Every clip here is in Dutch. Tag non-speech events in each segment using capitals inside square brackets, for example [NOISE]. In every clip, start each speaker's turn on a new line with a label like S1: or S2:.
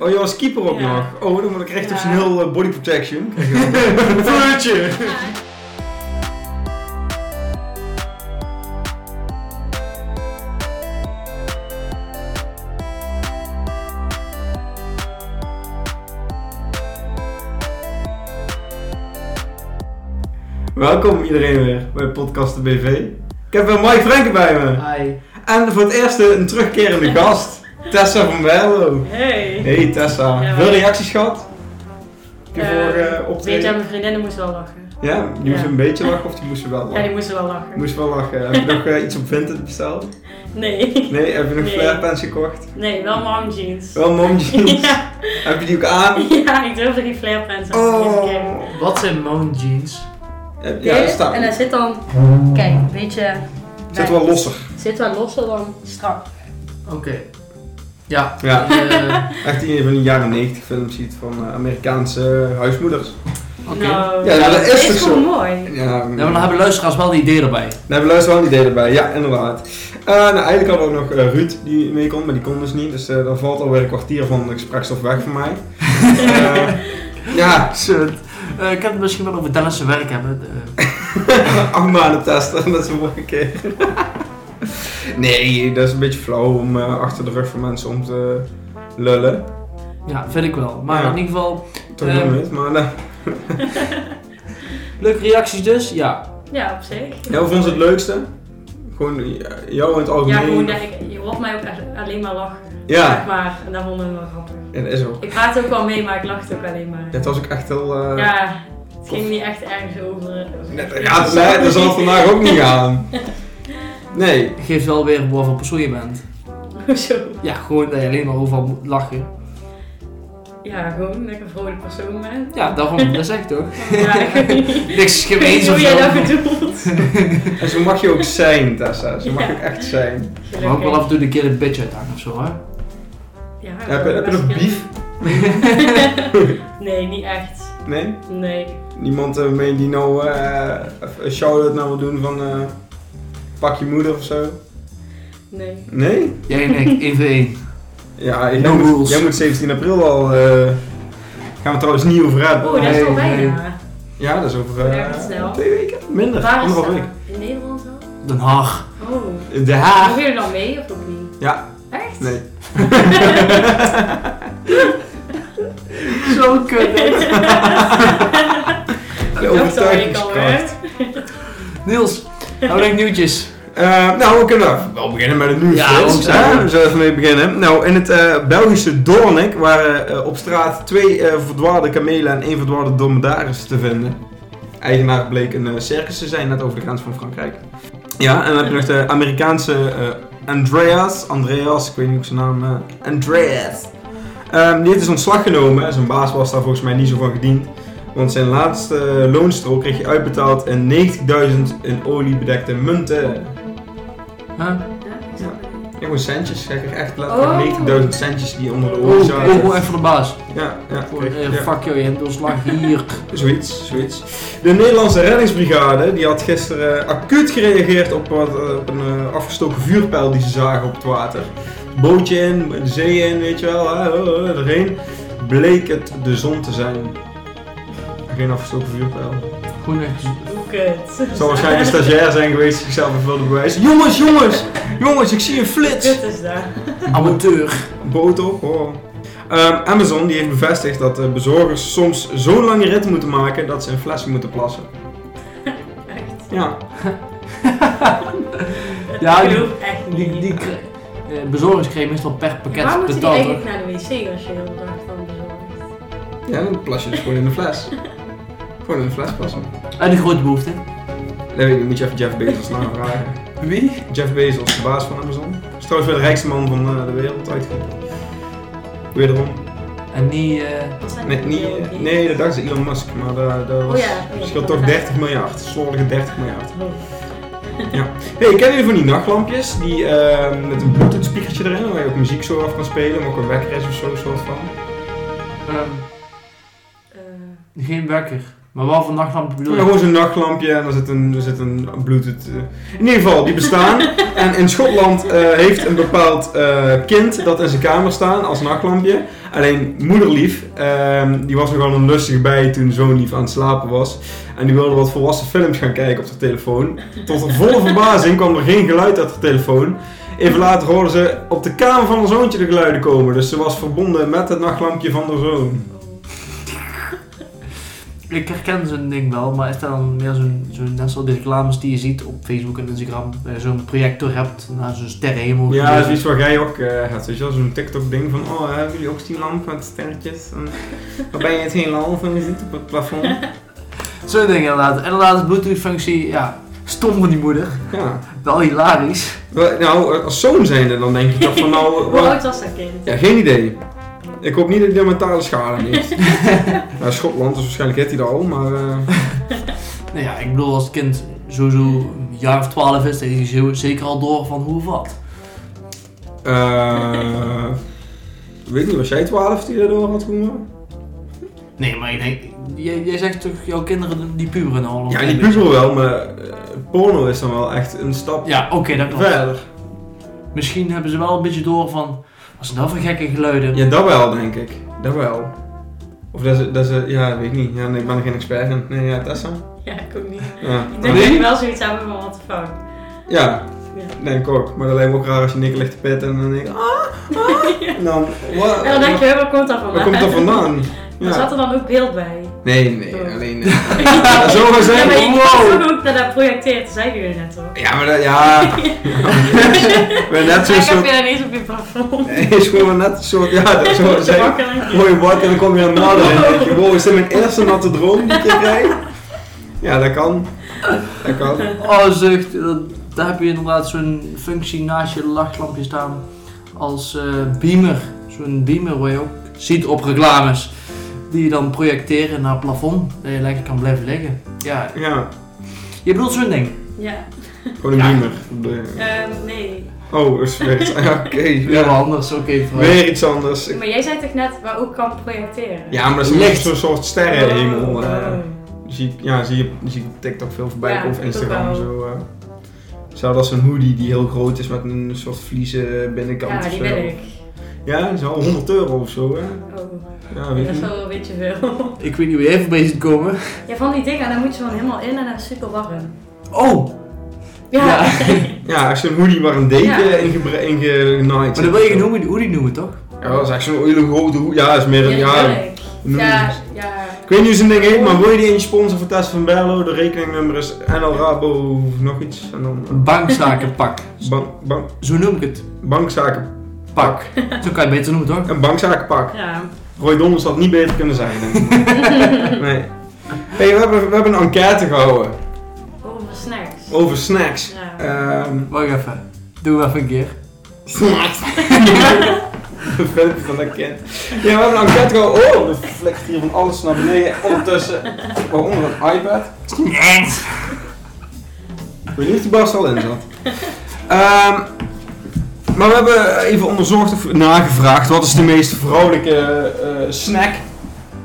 S1: Oh, je was keeper ook
S2: Ja.
S1: nog. Oh, dan moet ik recht op
S2: Ja.
S1: zijn heel eh, body
S2: [LAUGHS]
S1: protection.
S3: Vuurtje!
S1: Welkom iedereen weer bij Podcast de BV. Ik heb weer Mike Franken bij me.
S3: Hi.
S1: En voor het eerst een terugkerende gast, Tessa van Berlo.
S2: Hey.
S1: Hey Tessa,
S2: Ja,
S1: veel
S2: maar-
S1: reacties gehad? Heb je
S2: Eh,
S1: voor eh,
S2: Weet je,
S1: optreden?
S2: mijn vriendinnen moesten wel lachen.
S1: Ja, die moesten
S2: Ja.
S1: een beetje lachen of die moesten wel
S2: Ja,
S1: lachen?
S2: die moesten wel lachen.
S1: Moest wel lachen. Heb je nog eh, iets op Vinted besteld?
S2: Nee. [LAUGHS]
S1: Nee, heb je nog
S2: Nee.
S1: flare pants gekocht?
S2: Nee, wel mom jeans.
S1: Wel mom jeans.
S2: [LAUGHS] Ja.
S1: Heb je die ook aan?
S2: ja, ik durfde geen flare pants aan.
S1: Oh.
S3: Wat zijn mom jeans?
S1: Ja,
S2: Ja,
S1: ja staat.
S2: En hij
S1: Het
S2: zit dan, kijk, een beetje...
S1: zit wel losser.
S2: Zit wel losser dan strak.
S3: Oké. [LAUGHS] Ja.
S1: Ja.
S3: eh,
S1: Echt in van de jaren 90 films ziet van eh, Amerikaanse huismoeders.
S3: Oké.
S2: Nou,
S1: Ja, dat is
S2: is
S1: toch zo.
S2: gewoon mooi.
S1: Ja,
S3: Ja, maar dan hebben luisteraars wel die idee erbij.
S1: Daar hebben we luisteraar wel een idee erbij, ja, inderdaad. Eh, nou, eigenlijk hadden we ook nog eh, Ruud die meekomt, maar die kon dus niet. Dus eh daar valt alweer een kwartier van de gesprekstof weg van
S2: [LAUGHS]
S1: mij. Eh, ja, [LAUGHS]
S3: Shit. Eh, ik kan het misschien wel over Dennis' zijn werk hebben. Eh,
S1: acht maanden testen, dat is een mooie keer. [LAUGHS] nee, dat is een beetje flauw om eh, achter de rug van mensen om te lullen.
S3: ja, vind ik wel. Maar
S1: Ja.
S3: in ieder geval,
S1: Toch
S3: Ehm.
S1: nog niet, maar eh,
S3: leuke reacties dus. Ja.
S2: Ja, op zich.
S1: jij vond het leukste? Gewoon eh, jou in het algemeen?
S2: Ja, gewoon dat ik, je hoort mij ook echt alleen maar lachen.
S1: Ja,
S2: Zeg maar, en dat vonden we wel grappig.
S1: ja, dat is ook.
S2: Ik praat ook wel mee, maar ik lachte ook alleen maar.
S1: Het was ook echt heel... eh,
S2: Ja, het ging niet echt ergens over.
S1: Net- Ja, dat, zei- dat zal het vandaag ook niet
S2: [LAUGHS]
S1: gaan. Nee.
S3: Geeft wel weer wat voor persoon je bent.
S2: Zo.
S3: Ja, gewoon dat je alleen maar overal moet lachen.
S2: Ja, gewoon dat ik een vrolijk persoon [LAUGHS] ben.
S3: Ja, daarom, dat zeg ik toch.
S2: Ja, ik weet niet [LAUGHS]
S3: Niks
S2: ik weet
S3: geweest
S2: niet
S3: of
S2: hoe jij
S3: zo.
S2: dat bedoelt.
S1: En zo mag je ook zijn, Tessa. Zo mag je
S2: Ja.
S1: ook echt zijn.
S3: Maar ook wel af en toe een keer een bitch uithangen of zo, hè.
S2: Ja,
S1: Heb je, heb je nog beef?
S2: Nee, niet echt.
S1: Nee?
S2: Nee.
S1: Niemand eh, mee die nou eh, een shout-out nou wil doen van eh, pak je moeder of zo?
S2: Nee.
S1: Nee?
S3: Jij en ik, 1 voor 1.
S1: Ja, jij,
S3: No
S1: moet,
S3: rules.
S1: jij moet 17 april al... eh, gaan we trouwens niet over hebben.
S2: Oh, dat is al
S3: Nee, nee.
S2: bijna.
S1: Ja, dat is over eh,
S2: Ja, dat is snel.
S1: twee weken. Minder,
S2: Waar is
S1: anderhalf
S2: dat?
S1: week.
S2: In Nederland al?
S3: Den Haag.
S2: Oh.
S1: In Den
S3: Ah.
S1: Haag.
S2: Mogen jullie dan mee of ook niet?
S1: Ja.
S2: Echt? [LAUGHS]
S1: Nee.
S3: Zo [LAUGHS] kut.
S1: De
S2: Ik dacht al, ik al
S1: overtuigingskracht.
S2: hè.
S3: Niels, hebben we nog nieuwtjes?
S1: Eh, nou, we kunnen wel beginnen met het nieuws.
S3: Ja,
S1: Frits.
S3: ook zo, ja.
S1: Eh, we zullen even mee beginnen. Nou, in het eh, Belgische Doornik waren eh, op straat twee eh, verdwaarde kamelen en één verdwaarde dromedaris te vinden. Eigenaar bleek een eh, circus te zijn, net over de grens van Frankrijk. Ja, en dan heb je nog de Amerikaanse eh, Andreas. Andreas, ik weet niet hoe ik zijn naam... eh, Andreas. Ehm, die heeft dus ontslag genomen. Zijn baas was daar volgens mij niet zo van gediend. Want zijn laatste eh, loonstrook kreeg hij uitbetaald in 90.000 in olie bedekte munten.
S3: Huh?
S2: Ja, ik snap het.
S1: Ja, gewoon centjes. Hij kreeg echt letterlijk
S2: Oh.
S1: 90.000 centjes die onder de
S3: Oh,
S1: oren
S3: oh,
S1: zaten.
S3: oh, even de baas.
S1: Ja, ja,
S3: Voor,
S1: kreeg-
S3: eh,
S1: ja.
S3: Fuck jou, je hebt ontslag hier.
S1: Zoiets, zoiets. De Nederlandse reddingsbrigade die had gisteren eh, acuut gereageerd op, wat, eh, op een eh, afgestoken vuurpijl die ze zagen op het water. Bootje in, de zee in, weet je wel, hè, oh, oh, erheen. Bleek het de zon te zijn. Geen afgestoken vuurpijl.
S3: Gewoon echt.
S2: Hoe Oh, kut.
S1: Het zal waarschijnlijk een stagiair zijn geweest die zichzelf even wilde bewijzen. Jongens, jongens! Jongens, ik zie een flits!
S2: Kut is dat.
S3: Amateur.
S1: boot op. hoor. Ehm, Amazon die heeft bevestigd dat eh, bezorgers soms zo'n lange rit moeten maken dat ze in flessen moeten plassen.
S2: Echt.
S1: Ja,
S3: Ja,
S2: ik
S3: die-
S2: geloof echt niet.
S3: Die, die kre- eh, bezorgers kregen meestal per
S2: Waar
S3: pakket
S2: moeten die
S3: betaald. hoor.
S2: eigenlijk naar de wc als je heel de dag van bezorgd?
S1: ja dan plas je dus gewoon in de fles. Gewoon in de fles plassen.
S3: En de grote behoefte.
S1: Nee, weet ik niet, moet je even Jeff Bezos navragen.
S3: Wie?
S1: Jeff Bezos, de baas van Amazon. Is trouwens weer de rijkste man van eh, de wereld uitgevonden. Wederom.
S3: En die. eh,
S2: Wat zijn
S1: Nee,
S2: die
S1: niet,
S2: heel
S1: eh,
S2: diep?
S1: nee, dat dacht ik Elon Musk, maar dat, dat was,
S2: Oh ja, ja,
S1: scheelt
S2: dat
S1: toch
S2: was-
S1: 30 miljard. Slordige 30 miljard.
S2: Oh.
S1: Hey, kennen jullie van die nachtlampjes? Die eh, met een bluetooth spiekertje erin, waar je ook muziek zo af kan spelen, maar ook een wekker is of zo, soort van.
S3: ehm,
S2: Eh,
S3: geen wekker. Maar wel van nachtlampen bedoel
S1: Ja,
S3: je?
S1: gewoon zo'n nachtlampje en er zit een, er zit een Bluetooth. eh. In ieder geval, die bestaan. en in Schotland eh, heeft een bepaald eh, kind dat in zijn kamer staan als nachtlampje. Alleen moederlief, ehm, die was nogal een lustige bij toen zoonlief aan het slapen was. En die wilde wat volwassen films gaan kijken op de telefoon. Tot de volle verbazing kwam er geen geluid uit de telefoon. Even later hoorden ze op de kamer van haar zoontje de geluiden komen. Dus ze was verbonden met het nachtlampje van haar zoon.
S3: Ik herken zo'n ding wel, maar is dat dan meer zo'n, zo'n net zoals de reclames die je ziet op Facebook en Instagram, dat je zo'n projector hebt naar zo'n sterrenhemel.
S1: Ja,
S3: geweest.
S1: dat is iets waar jij ook eh hebt. Weet je wel, zo'n TikTok-ding van: oh, hebben jullie ook die lamp met sterretjes? En waarbij je het heelal van je ziet op het plafond. [LAUGHS]
S3: Zo'n ding inderdaad. En inderdaad, de Bluetooth-functie, ja, stom van die moeder.
S1: Ja.
S3: Wel hilarisch.
S1: Wel, Nou, als zoon zijnde, dan denk ik toch van: [LAUGHS] nou,
S2: Hoe
S1: wat?
S2: oud was dat kind?
S1: Ja, geen idee. Ik hoop niet dat hij daar mentale schade aan [LAUGHS] heeft. nou, Schotland, dus waarschijnlijk heeft hij dat al, maar. eh,
S3: Nou ja, ik bedoel, als het kind sowieso een jaar of twaalf is, dan is hij zo- zeker al door van hoe of wat.
S1: eh, weet niet, was jij 12 die daardoor had komen?
S3: Nee, maar ik denk, jij, jij zegt toch, jouw kinderen die puberen nou al. een
S1: Ja,
S3: klein
S1: die
S3: beetje.
S1: puzzel wel, maar eh, porno is dan wel echt een stap
S3: Ja, oké, dat klopt.
S1: verder.
S3: Misschien hebben ze wel een beetje door van, wat zijn dat voor gekke geluiden?
S1: Ja, dat wel, denk ik. Dat wel. Of dat ze, dat ze ja, weet ik niet. Ja, nee, ik ben er geen expert in. Nee, ja, Tessa?
S2: Ja, ik ook niet.
S1: Ja.
S2: Ik denk
S1: Nee?
S2: dat je wel zoiets hebben van what the fuck.
S1: Ja.
S2: Ja.
S1: Nee, ik ook. Maar dat lijkt me ook raar als je niks ligt te pitten en dan denk ik, ah,
S2: [LAUGHS]
S1: ah. En dan, wat?
S2: En dan denk je, hè, waar komt dat vandaan?
S1: Waar komt dat
S2: [LAUGHS]
S1: vandaan?
S2: Maar
S1: Ja.
S2: zat er dan ook beeld bij?
S1: Nee, nee,
S2: Oh.
S1: alleen... eh, ja, zo gaan
S2: Ja, maar
S1: zijn.
S2: ik
S3: Wow.
S2: wow. ook dat dat projecteert, zeiden jullie net al.
S1: Ja, maar dat,
S2: [LAUGHS]
S1: ja. [LAUGHS] We zijn net zo'n
S2: ik heb
S1: soort...
S2: je dan eens op je plafond.
S1: [LAUGHS] Nee, is gewoon net een soort, ja,
S2: [LAUGHS]
S1: dat
S2: Te
S1: zo gaan zijn.
S2: pakken en-
S1: Gooi je bord en dan kom je aan de ladder en dan denk je, wow, is dit mijn eerste natte droom die ik hier krijg?
S2: [LAUGHS]
S1: Ja, dat kan. Dat kan.
S3: Oh, zucht. Dat, daar heb je inderdaad zo'n functie naast je lachlampje staan. Als eh, beamer. Zo'n beamer waar je ook ziet op reclames. Die je dan projecteren naar het plafond. Dat je lekker kan blijven liggen. Ja,
S1: Ja,
S3: je bedoelt zo'n ding.
S2: Ja,
S1: gewoon een
S3: Ja.
S1: beamer. De-
S2: ehm, nee.
S1: Oh, is weer iets. [LAUGHS] ja, Oké,
S3: Weer wat
S1: ja.
S3: anders, oké. vooruit.
S1: weer iets anders. Ik-
S2: Maar jij zei toch net waar ook kan projecteren?
S1: Ja, maar dat is
S3: Licht.
S1: echt zo'n soort sterrenhemel. eh.
S2: Oh.
S1: zie, ik- ja, zie je zie ik op TikTok veel voorbij
S2: Ja,
S1: komen of
S2: ik ook
S1: Instagram.
S2: wel.
S1: Zo, eh. Hetzelfde als een hoodie die heel groot is met een soort vliezen binnenkant
S2: Ja,
S1: of
S2: die
S1: zo.
S2: wil ik.
S1: Ja, dat is wel 100 euro of zo, hè?
S2: Oh,
S1: Ja,
S2: dat
S1: weet
S2: is
S1: je.
S2: wel een beetje veel.
S3: Ik weet niet hoe jij voor bezig komen.
S2: Ja, van die dingen, daar moet je gewoon helemaal in en dat is super warm.
S3: Oh,
S2: Ja.
S3: Ja.
S2: [LAUGHS]
S1: Ja, echt zo'n hoodie waar een deken
S2: Ja.
S1: in gebre- in genaaid
S3: maar
S1: zit
S3: dat wil
S1: of
S3: je
S1: zo.
S3: noemen, hoe die noemen toch?
S1: Ja, dat is echt zo'n hele grote hoedie. Ja, dat is meer een... Ja,
S2: Ja, die wil ik.
S1: noem-
S2: ja, ja.
S1: Ik weet niet hoe zijn ding heet, maar wil je die eentje sponsoren voor Tess van Berlo? De rekeningnummer is NL Rabo nog iets. En dan...
S3: Een bankzakenpak.
S1: eh, Bank, bank,
S3: Zo noem ik het.
S1: bankzaken...
S3: Pak. Zo kan je het beter noemen toch?
S1: Een bankzakenpak.
S2: Ja.
S1: Roy Donders had niet beter kunnen zijn. denk ik. nee. Hey, we, hebben, we hebben een enquête gehouden
S2: Over snacks.
S1: over snacks.
S2: Ja.
S1: Ehm
S3: Wacht even. Doe even een keer.
S1: snacks. Een [LAUGHS] filmpje van dat kind. Ja, we hebben een enquête gehouden. Oh, er flikt hier van alles naar beneden. Ondertussen, waaronder een iPad. Ik weet niet of die barst al in zat. Ehm, maar we hebben even onderzocht of nagevraagd wat is de meest vrouwelijke eh, snack.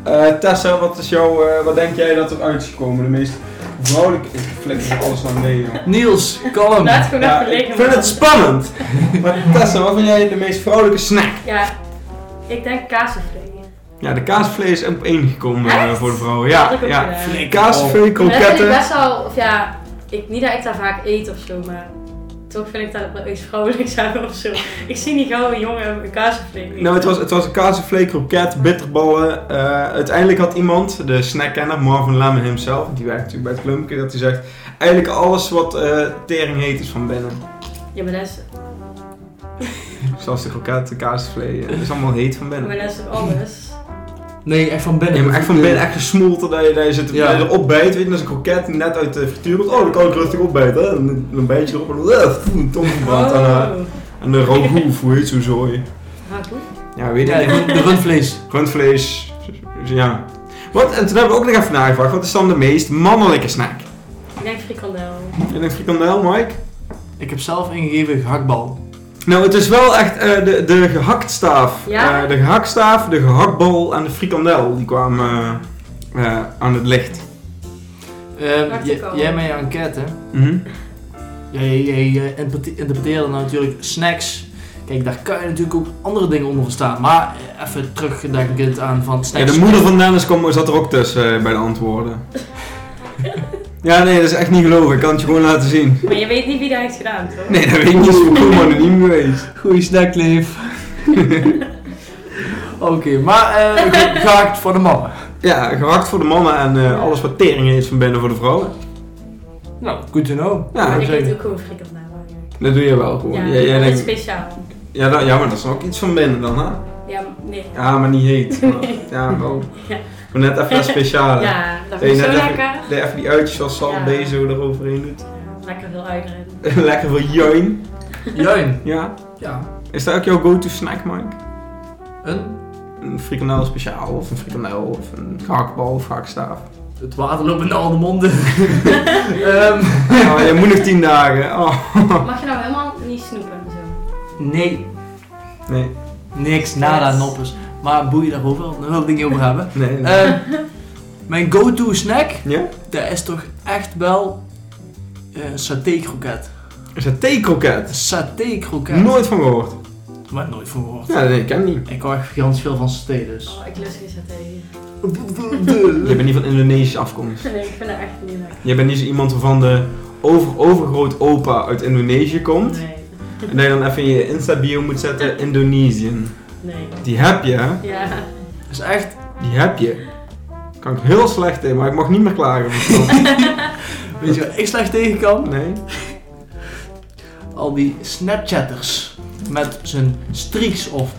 S1: Eh, Tessa, wat, is jouw, eh, wat denk jij dat eruit is gekomen? De meest vrouwelijke. Ik flikker alles naar beneden. joh.
S3: Niels, kalm.
S2: Laat het gewoon
S1: Ja,
S2: even liggen.
S1: ik vind
S2: man.
S1: het
S2: [LAUGHS]
S1: spannend. Maar Tessa, wat vind jij de meest vrouwelijke snack?
S2: Ja, ik denk kaasvlees.
S1: Ja, de kaasvlees is op één gekomen
S2: eh, Echt?
S1: voor de vrouwen.
S2: Had
S1: Oh, Ja,
S2: ik ook
S1: ja.
S2: gedaan.
S3: Flik.
S1: Kaasvlees,
S2: Maar Dat vind ik
S1: kroketten.
S2: best wel, of ja, ik, niet dat ik daar vaak eet of zo, maar toch vind ik dat wel iets vrouwelijks [LAUGHS] aan of zo. Ik zie niet gauw een jongen met een kaasvlees.
S1: Nou, het was, het was een kaasvlees, kroket, bitterballen. Eh, uiteindelijk had iemand, de snackkenner Marvin Lemon himself, die werkt natuurlijk bij het Klumpje, dat hij zegt: Eigenlijk alles wat eh, tering heet is van binnen.
S2: Ja, maar dat is,
S1: Zoals de kroket, de kaasvlees, het is allemaal heet van binnen.
S2: maar dat is toch alles?
S3: Nee, echt van binnen.
S1: Ja, maar echt van binnen, echt gesmolten, dat je, dat je, zit,
S3: Ja.
S1: dat je erop bijt, weet je, dat is een kroket die net uit de frituur komt. Oh, dan kan ik rustig opbijten. hè. En dan- dan bijt je erop en dan eh, pff, een tong verbrand aan, eh,
S2: Oh.
S1: aan de rogoef, hoe heet zo'n zooi.
S2: Ah, goed.
S1: Ja, weet je,
S3: Ja,
S1: niet. [LAUGHS]
S3: de de rundvlees.
S1: Rundvlees, ja. Wat, en toen hebben we ook nog even nagevraagd, wat is dan de meest mannelijke snack?
S2: Ik denk frikandel.
S1: Je denkt frikandel, Mike?
S3: Ik heb zelf ingegeven gehaktbal.
S1: Nou, het is wel echt eh, de, de gehaktstaaf.
S2: Ja?
S1: Eh, de gehaktstaaf, de gehaktbal en de frikandel, die kwamen eh, eh, aan het licht.
S3: Ehm,
S2: Wacht,
S3: j-
S2: ik al.
S3: jij met je enquête.
S1: Mhm.
S3: Jij, jij, jij interprete- interpreteerde nou natuurlijk snacks. Kijk, daar kan je natuurlijk ook andere dingen onder verstaan. Maar eh, even terugdenkend aan van
S1: Ja,
S3: snacks.
S1: de moeder van Dennis kwam, zat er ook tussen eh, bij de [LAUGHS] antwoorden. ja, nee, dat is echt niet gelogen. Ik kan het je gewoon laten zien.
S2: Maar je weet niet wie dat heeft gedaan, toch?
S1: Nee, dat weet ik niet. Het is volkomen anoniem geweest.
S3: Goeie [LAUGHS] snackleef. Oké, maar eh ge- gehakt voor de mannen.
S1: Ja, gehakt voor de mannen en eh, alles wat tering heeft van binnen voor de vrouwen.
S3: Nou, good to know.
S1: Ja,
S2: Maar ik
S3: Zou ik
S2: weet
S3: zeggen.
S2: ook gewoon frikkeld naar. hoor.
S1: Dat doe je wel gewoon.
S2: Ja,
S1: Ja, jij
S2: dat is
S1: denkt,
S2: speciaal.
S1: ja, dat, ja, maar dat is ook iets van binnen dan, hè?
S2: Ja, nee.
S1: Ja, maar niet
S2: [LAUGHS]
S1: heet. Maar, ja, wel.
S2: Ja.
S1: Maar net even dat speciale.
S2: Ja, dat
S1: Dat je
S2: vind ik
S1: net
S2: zo
S1: even,
S2: lekker.
S1: dat je even die uitjes als sal
S2: Ja.
S1: B zo eroverheen doet. [LAUGHS]
S2: Lekker veel uitrennen.
S1: Lekker veel join.
S3: Juin.
S1: Ja.
S3: Ja.
S1: Is dat ook jouw go-to snack, Mike?
S3: Een?
S1: Een frikandel speciaal of een frikandel of een gehaktbal of gehakstaaf? [LAUGHS]
S3: Het water loopt in alle monden. [LAUGHS] Ehm,
S1: Oh, je moet nog tien dagen. [LAUGHS] Oh.
S2: Mag je nou helemaal niet snoepen en zo?
S3: nee,
S1: Nee,
S3: niks, nada, noppers. Maar boeien daarover, daar wil ik het niet over hebben.
S1: nee. nee.
S3: Ehm, mijn go-to snack,
S1: Eh, ja?
S3: dat is toch echt wel eh, een saté-kroket.
S1: Is dat theekroket?
S3: Een saté-kroket.
S1: Nooit van gehoord.
S3: Maar nooit van gehoord.
S1: Ja, nee, ik ken niet.
S3: Ik hou echt gigantisch veel van saté, dus.
S2: Oh, ik lust geen saté. [LAUGHS] Nee,
S1: [LAUGHS] Je bent niet van Indonesische afkomst.
S2: ik vind dat echt niet lekker.
S1: Je bent niet zo iemand waarvan de over, overgroot opa uit Indonesië komt.
S2: Nee,
S1: En dat je dan even in je Insta-bio moet zetten Indonesian.
S2: nee.
S1: Die heb je, hè?
S2: Ja,
S3: is echt,
S1: Die heb je. Kan ik heel slecht in, maar ik mag niet meer klagen. van
S2: [LAUGHS]
S1: het
S3: weet je waar ik slecht tegen kan?
S1: Nee?
S3: Al die Snapchatters met zijn streaks of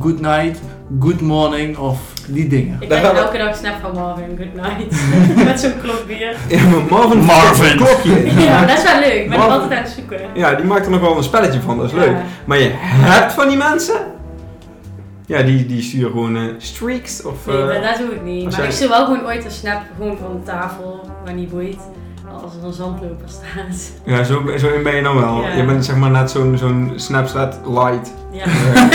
S3: good night, good morning of die dingen.
S2: ik
S1: Daar
S2: krijg
S1: gaan we-
S2: elke dag snap van Marvin, good
S1: [LAUGHS]
S2: night. Met zo'n klok bier.
S1: Ja, maar Marvin,
S3: Marvin.
S1: klokje.
S2: Ja, maar dat is wel leuk. Ik ben er
S1: Marvin.
S2: altijd aan het zoeken.
S1: Ja, die maakt er nog wel een spelletje van, dat is leuk.
S2: Ja.
S1: Maar je hebt van die mensen? Ja, die, die sturen gewoon eh, streaks of...
S2: Nee,
S1: eh,
S2: dat, dat doe ik niet.
S1: als
S2: Maar
S1: jij-
S2: ik stuur wel gewoon ooit een snap gewoon van tafel, maar niet boeit. Als er een zandloper staat.
S1: Ja, zo, zo ben je dan wel.
S2: Ja.
S1: Je bent zeg maar net zo'n zo'n Snapchat light.
S2: Ja.
S1: Eh,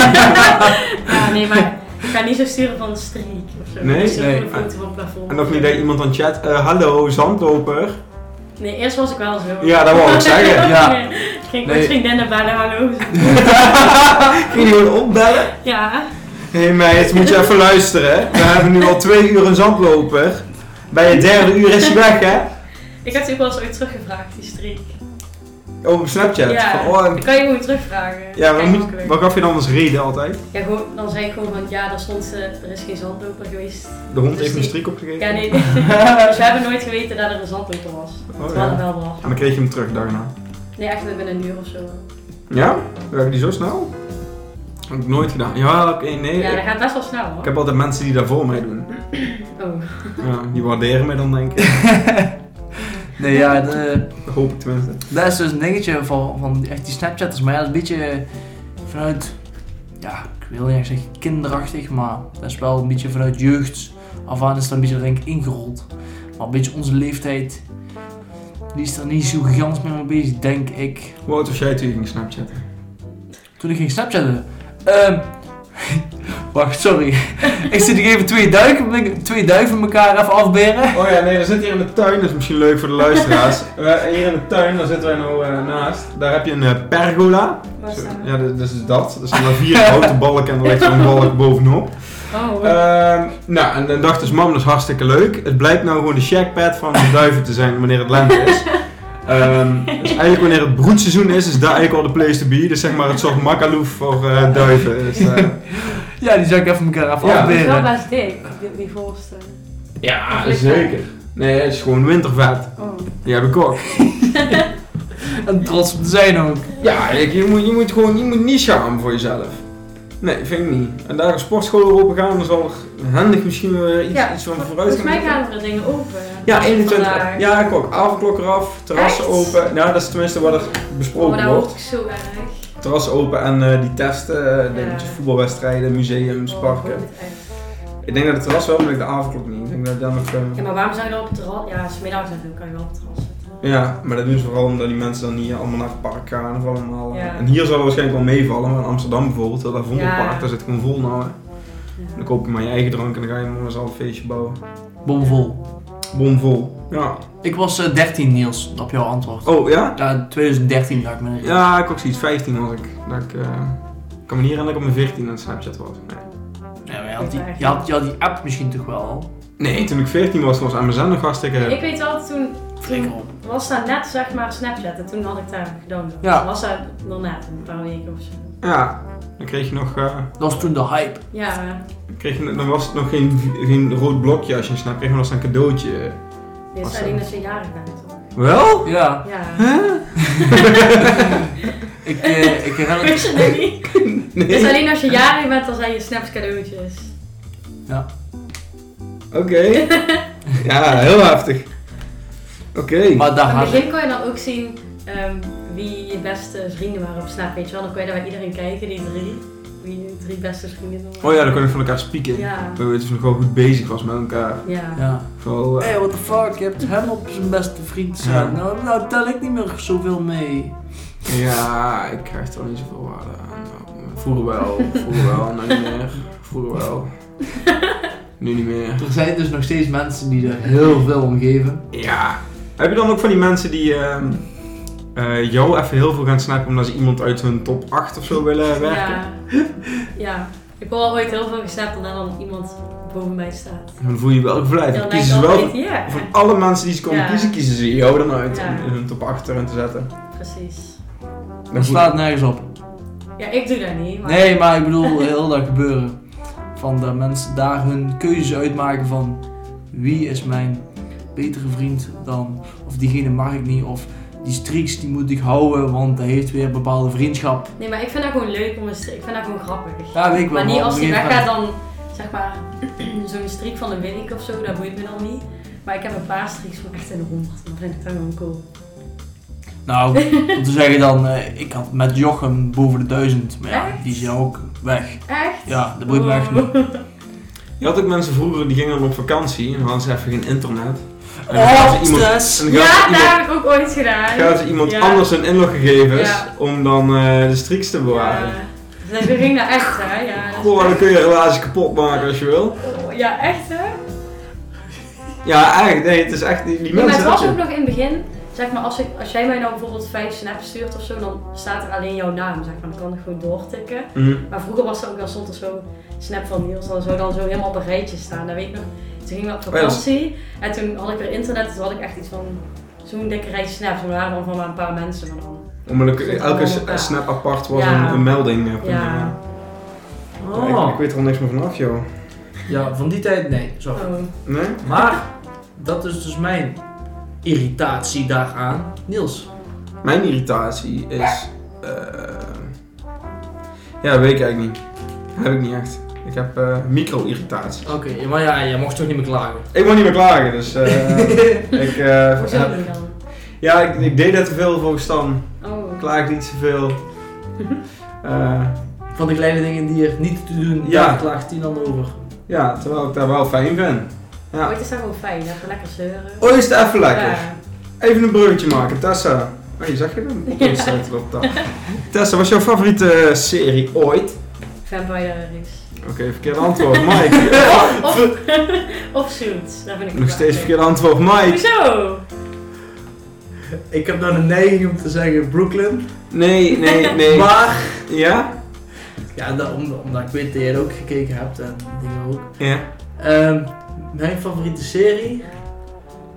S2: [LAUGHS] ja, nee, maar ik ga niet zo sturen van een streak of zo.
S1: Nee?
S2: Ik stuur
S3: Nee.
S2: gewoon een foto van het plafond.
S1: en ook niet dat iemand dan chat, eh, hallo zandloper. [LAUGHS]
S2: Nee, eerst was ik wel zo.
S1: Ja, dat wou ik zeggen.
S2: [LAUGHS]
S3: Ja.
S2: Nee, ik ging met
S3: Nee.
S2: vriendinnen bellen,
S1: [LAUGHS]
S2: hallo.
S1: Kun je gewoon opbellen?
S2: Ja.
S1: Hé hey meid, moet je even luisteren. We hebben nu al twee uur een zandloper. Bij het derde uur is hij weg, hè?
S2: Ik had die ook wel eens ooit teruggevraagd, die streak.
S1: Oh, op Snapchat.
S2: Ja,
S1: Van, oh,
S2: dat kan je gewoon terugvragen.
S1: ja maar
S2: Kijk,
S1: moet-
S2: makkelijk.
S1: wat gaf je dan als reden altijd?
S2: Ja, gewoon, dan zei ik gewoon van, ja, daar stond ze, er is geen zandloper geweest.
S1: De hond
S2: Dus
S1: heeft een
S2: die-
S1: strik opgegeven?
S2: Ja,
S1: [LAUGHS]
S2: nee, dus we hebben nooit geweten dat er een zandloper was.
S1: Oh,
S2: terwijl
S1: ja.
S2: er wel was.
S1: En dan kreeg je hem terug daarna.
S2: Nee, echt binnen een uur of zo.
S1: Ja? We hebben die zo snel? Heb ik nooit gedaan. Ja, oké, nee.
S2: Ja, dat
S1: ik,
S2: gaat best wel snel hoor.
S1: ik heb altijd mensen die daar voor mij doen.
S2: Oh.
S1: Ja, die waarderen mij dan denk ik. [LAUGHS]
S3: Nee, ja, de,
S1: Dat hoop ik tenminste.
S3: dat is dus een dingetje van, van echt die Snapchatters. Maar ja, dat is een beetje vanuit, ja, ik wil niet echt zeggen kinderachtig, maar dat is wel een beetje vanuit jeugd af aan is dat een beetje denk ik ingerold. Maar een beetje onze leeftijd, die is er niet zo gigantisch mee bezig, denk ik.
S1: Hoe oud was jij toen je ging Snapchatten?
S3: Toen ik ging Snapchatten. Ehm. [LAUGHS] wacht, sorry. [LAUGHS] ik zit hier even twee duiken, twee duiven elkaar even afberen.
S1: Oh ja, nee, we zitten hier in de tuin, dat is misschien leuk voor de luisteraars. [LAUGHS] We- hier in de tuin, daar zitten wij nou eh, naast. Daar heb je een eh, pergola.
S2: Waar
S1: Zo-
S2: staan we?
S1: Ja, dat dat is dat. Dat zijn maar vier [LAUGHS] houten balken en er ligt zo'n balk bovenop.
S2: Oh,
S1: Ehm, nou, en dan dacht dus mam, dat is hartstikke leuk. Het blijkt nou gewoon de shackpad van de duiven te zijn wanneer het lente
S2: [LAUGHS]
S1: is. Ehm, dus eigenlijk wanneer het broedseizoen is, is daar eigenlijk al de place to be. Dus zeg maar het soort makaloef voor eh, duiven. Dus,
S2: [LAUGHS]
S1: eh,
S3: Ja, die zou ik even elkaar even
S1: Ja.
S2: dat is wel
S3: afberen.
S2: best dik, die, die voorste.
S1: ja,
S2: Of zeker.
S1: Nee, het is gewoon wintervet.
S2: Oh.
S1: Die heb ik ook.
S3: En trots op te zijn ook.
S1: Ja, ik- je moet, je moet gewoon je moet niet schamen voor jezelf. Nee, vind ik niet. En daar een sportschool weer open gaan, dan zal er handig misschien weer iets,
S2: Ja,
S1: iets van
S2: vol-
S1: vooruit
S2: volgens
S1: gaan.
S2: mij gaan er dingen open.
S1: Ja, 21.
S2: Vandaag.
S1: Ja, ik ook. Avondklok eraf, terrassen
S2: Echt?
S1: open. Nou, dat is tenminste wat er
S2: Oh,
S1: besproken
S2: daar
S1: wordt.
S2: hoort ik zo
S1: oh.
S2: erg.
S1: Terrassen open en eh, die testen, eh, dingetjes,
S2: Ja.
S1: voetbalwedstrijden, museums,
S2: Oh,
S1: parken.
S2: goed, echt.
S1: Ik denk dat het terras wel, maar ik de avondklok niet. Ik denk dat ik daar nog... eh,
S2: Ja, maar waarom zou je dan op het terras? Ja, smiddags en zo kan je wel op het terras zitten.
S1: Ja, maar dat doen ze vooral omdat die mensen dan niet allemaal naar het park gaan of allemaal. eh,
S2: Ja.
S1: En hier zal het waarschijnlijk wel meevallen, maar in Amsterdam bijvoorbeeld, dat Vondelpark,
S2: Ja.
S1: daar zit gewoon vol nou. hè.
S2: Ja.
S1: Dan koop je maar je eigen drank en dan ga je maar zelf een feestje bouwen.
S3: Bomvol.
S1: bomvol. Ja.
S3: Ik was eh, 13, Niels, op jouw antwoord.
S1: Oh ja?
S3: Ja, 2013 dacht ik me.
S1: Ja, ik ook zoiets. 15 was ik. Dat ik eh, ik kan me niet herinneren dat ik op mijn 14 aan Snapchat was. Nee.
S3: Ja, maar je, had die, je, had, je had die app misschien toch wel al.
S1: nee, toen ik 14 was, was Amazon nog hartstikke...
S2: Ik weet wel, toen,
S3: Flikker
S2: toen
S3: op.
S2: was dat net zeg maar Snapchat en toen had ik daar gedownload.
S3: Ja.
S2: Was dat nog net, een paar weken of zo.
S1: Ja, dan kreeg je nog... eh,
S3: Dat was toen de hype.
S2: Ja, eh, maar
S1: kreeg je, dan was het nog geen, geen rood blokje als je een snap kreeg, maar dat was een cadeautje.
S2: dit
S1: Was
S2: is
S1: dat?
S2: alleen als je jarig bent. toch?
S1: Wel?
S3: Ja,
S2: Ja. [LAUGHS]
S3: ik, eh, ik herinner
S1: [LAUGHS]
S2: Wist je dat niet?
S1: Nee.
S2: Dus alleen als je jarig bent, dan zijn je snaps cadeautjes.
S1: Oké.
S2: [LAUGHS]
S1: ja, heel heftig. Oké.
S3: Maar daar
S2: Aan
S3: had
S2: het
S3: ik.
S2: begin kon je dan ook zien ehm, wie je beste vrienden waren op Snap, weet je wel. Dan kon je daar bij iedereen kijken, die drie. Wie je drie beste vrienden waren.
S1: Oh ja, dan kon je van elkaar spieken.
S2: Ja.
S1: We weten of je nog wel goed bezig was met elkaar.
S2: Ja.
S3: Ja.
S1: Vooral, eh,
S3: Hé, hey, what the fuck, je hebt hem op zijn beste vriend staan. Nou, nou tel ik niet meer zoveel mee.
S1: ja, ik krijg er al niet zoveel waarde aan. Nou, Vroeger wel, vroeger wel, nu niet meer. Vroeger wel. Nu niet meer.
S3: Er zijn dus nog steeds mensen die er heel veel om geven.
S1: Ja. Heb je dan ook van die mensen die ehm, eh, jou even heel veel gaan snappen omdat ze iemand uit hun top 8 of zo willen werken?
S2: Ja. ja. Ik heb al ooit heel veel gesnapt en dan iemand boven mij staat.
S1: Dan voel je welke
S2: En
S1: verleid.
S2: dan
S1: Dan
S2: denk
S1: kiezen
S2: ik
S1: ze wel
S2: altijd,
S1: van,
S2: ja.
S1: van alle mensen die ze konden
S2: Ja.
S1: kiezen, kiezen ze jou dan uit
S2: Ja.
S1: om in hun top 8 erin te zetten.
S2: Precies.
S1: Dan
S3: Dat slaat nergens op.
S2: Ja, ik doe dat niet, maar...
S3: Nee, maar ik bedoel heel dat gebeuren. Van dat mensen daar hun keuzes uitmaken van wie is mijn betere vriend dan, of diegene mag ik niet, of die streaks die moet ik houden, want dat heeft weer een bepaalde vriendschap.
S2: Nee, maar ik vind dat gewoon leuk om eens... Ik vind dat gewoon grappig.
S3: Ja, weet ik wel.
S2: maar niet
S3: maar
S2: als
S3: op
S2: die
S3: een gegeven
S2: weggaat, dan zeg maar [CLEARS THROAT] zo'n streak van een week of zo, dat boeit me dan niet. Maar ik heb een paar streaks van echt een honderd. Dan vind ik dat gewoon cool.
S3: [LAUGHS] moment- Nou, om te zeggen dan, eh, ik had met Jochem boven de duizend, maar ja, die is ja ook weg.
S2: Echt?
S3: Ja, dat boeit me echt niet.
S2: Oh.
S1: Je had ook mensen vroeger die gingen dan op vakantie en hadden ze even geen internet. En dan gaven
S3: Oh,
S1: ze iemand,
S3: stress!
S1: en dan gaven ze
S2: Ja, dat
S1: iemand,
S2: heb ik ook ooit gedaan.
S1: gaven ze iemand
S2: Ja.
S1: anders hun inloggegevens
S2: Ja.
S1: om dan eh, de streaks te bewaren.
S2: Ja. Dat ging dat Dus echt, hè? Ja, dat is-
S1: Goh, dan kun je een relatie kapot maken als je wil.
S2: Oh, ja echt, hè?
S1: Ja, eigenlijk, nee, het is echt die, die
S2: Nee, maar
S1: mensen.
S2: het was
S1: dat
S2: ook
S1: je-
S2: nog in het begin. Zeg maar, als, ik, als jij mij nou bijvoorbeeld vijf snaps stuurt of zo, dan staat er alleen jouw naam. Zeg maar, dan kan ik gewoon doortikken.
S1: Mhm.
S2: Maar vroeger was er ook wel stond er zo snap van Niels dan zo, dan zo helemaal op een rijtje staan. Dat weet ik nog. Toen gingen we op
S1: Oh ja, dat is-
S2: vakantie en toen had ik weer internet. Toen had ik echt iets van zo'n dikke rij snaps. Maar er waren dan van maar een paar mensen van dan.
S1: Hm, Omdat
S2: Zit
S1: elke
S2: allemaal elkaar.
S1: snap apart was
S2: Ja.
S1: een, een melding. eh, van, eh,
S2: Ja.
S1: ja, ik,
S3: Oh.
S1: ik weet er al niks meer vanaf, joh.
S3: Ja, van die tijd nee, zo.
S2: Oh.
S1: Nee?
S3: Maar, dat is dus mijn irritatie daaraan. Niels,
S1: Mijn irritatie is. eh, ja, weet ik eigenlijk niet. Heb ik niet echt. Ik heb eh, micro-irritatie.
S3: Oké, maar ja, jij mocht toch niet meer klagen.
S1: Ik moet niet meer klagen, dus. eh,
S2: [LAUGHS]
S1: ik, eh,
S2: Hoezo
S1: heb-
S2: niet dan?
S1: ja, ik, ik deed dat te veel volgens Stan.
S2: Oh.
S1: Ik klaagde niet zoveel. Eh,
S3: Van de kleine dingen die er niet te doen,
S1: Ja.
S3: daar klaagt hij dan over.
S1: ja, terwijl ik daar wel fijn ben. Ja.
S2: Ooit is dat gewoon fijn, hè? Even lekker zeuren.
S1: Oh, is het even lekker.
S2: Ja.
S1: Even een bruggetje maken, Tessa. Oh, je zag je hem? Op
S2: Ja.
S1: Instagram op dat. Tessa, wat is jouw favoriete eh, serie ooit?
S2: Vampire
S1: [LAUGHS]
S2: Diaries.
S1: Oké, verkeerde antwoord,
S2: [LAUGHS]
S1: Mike.
S2: Of, of Suits, daar vind ik
S1: Nog
S2: het
S1: steeds
S2: wel.
S1: verkeerde antwoord, Mike.
S2: Hoezo?
S3: Ik heb dan een neiging om te zeggen Brooklyn.
S1: Nee, nee, nee.
S3: Maar,
S1: Ja?
S3: ja, da- om- omdat ik weet dat jij er ook gekeken hebt en dingen ook.
S1: Ja.
S3: Ehm, mijn favoriete serie,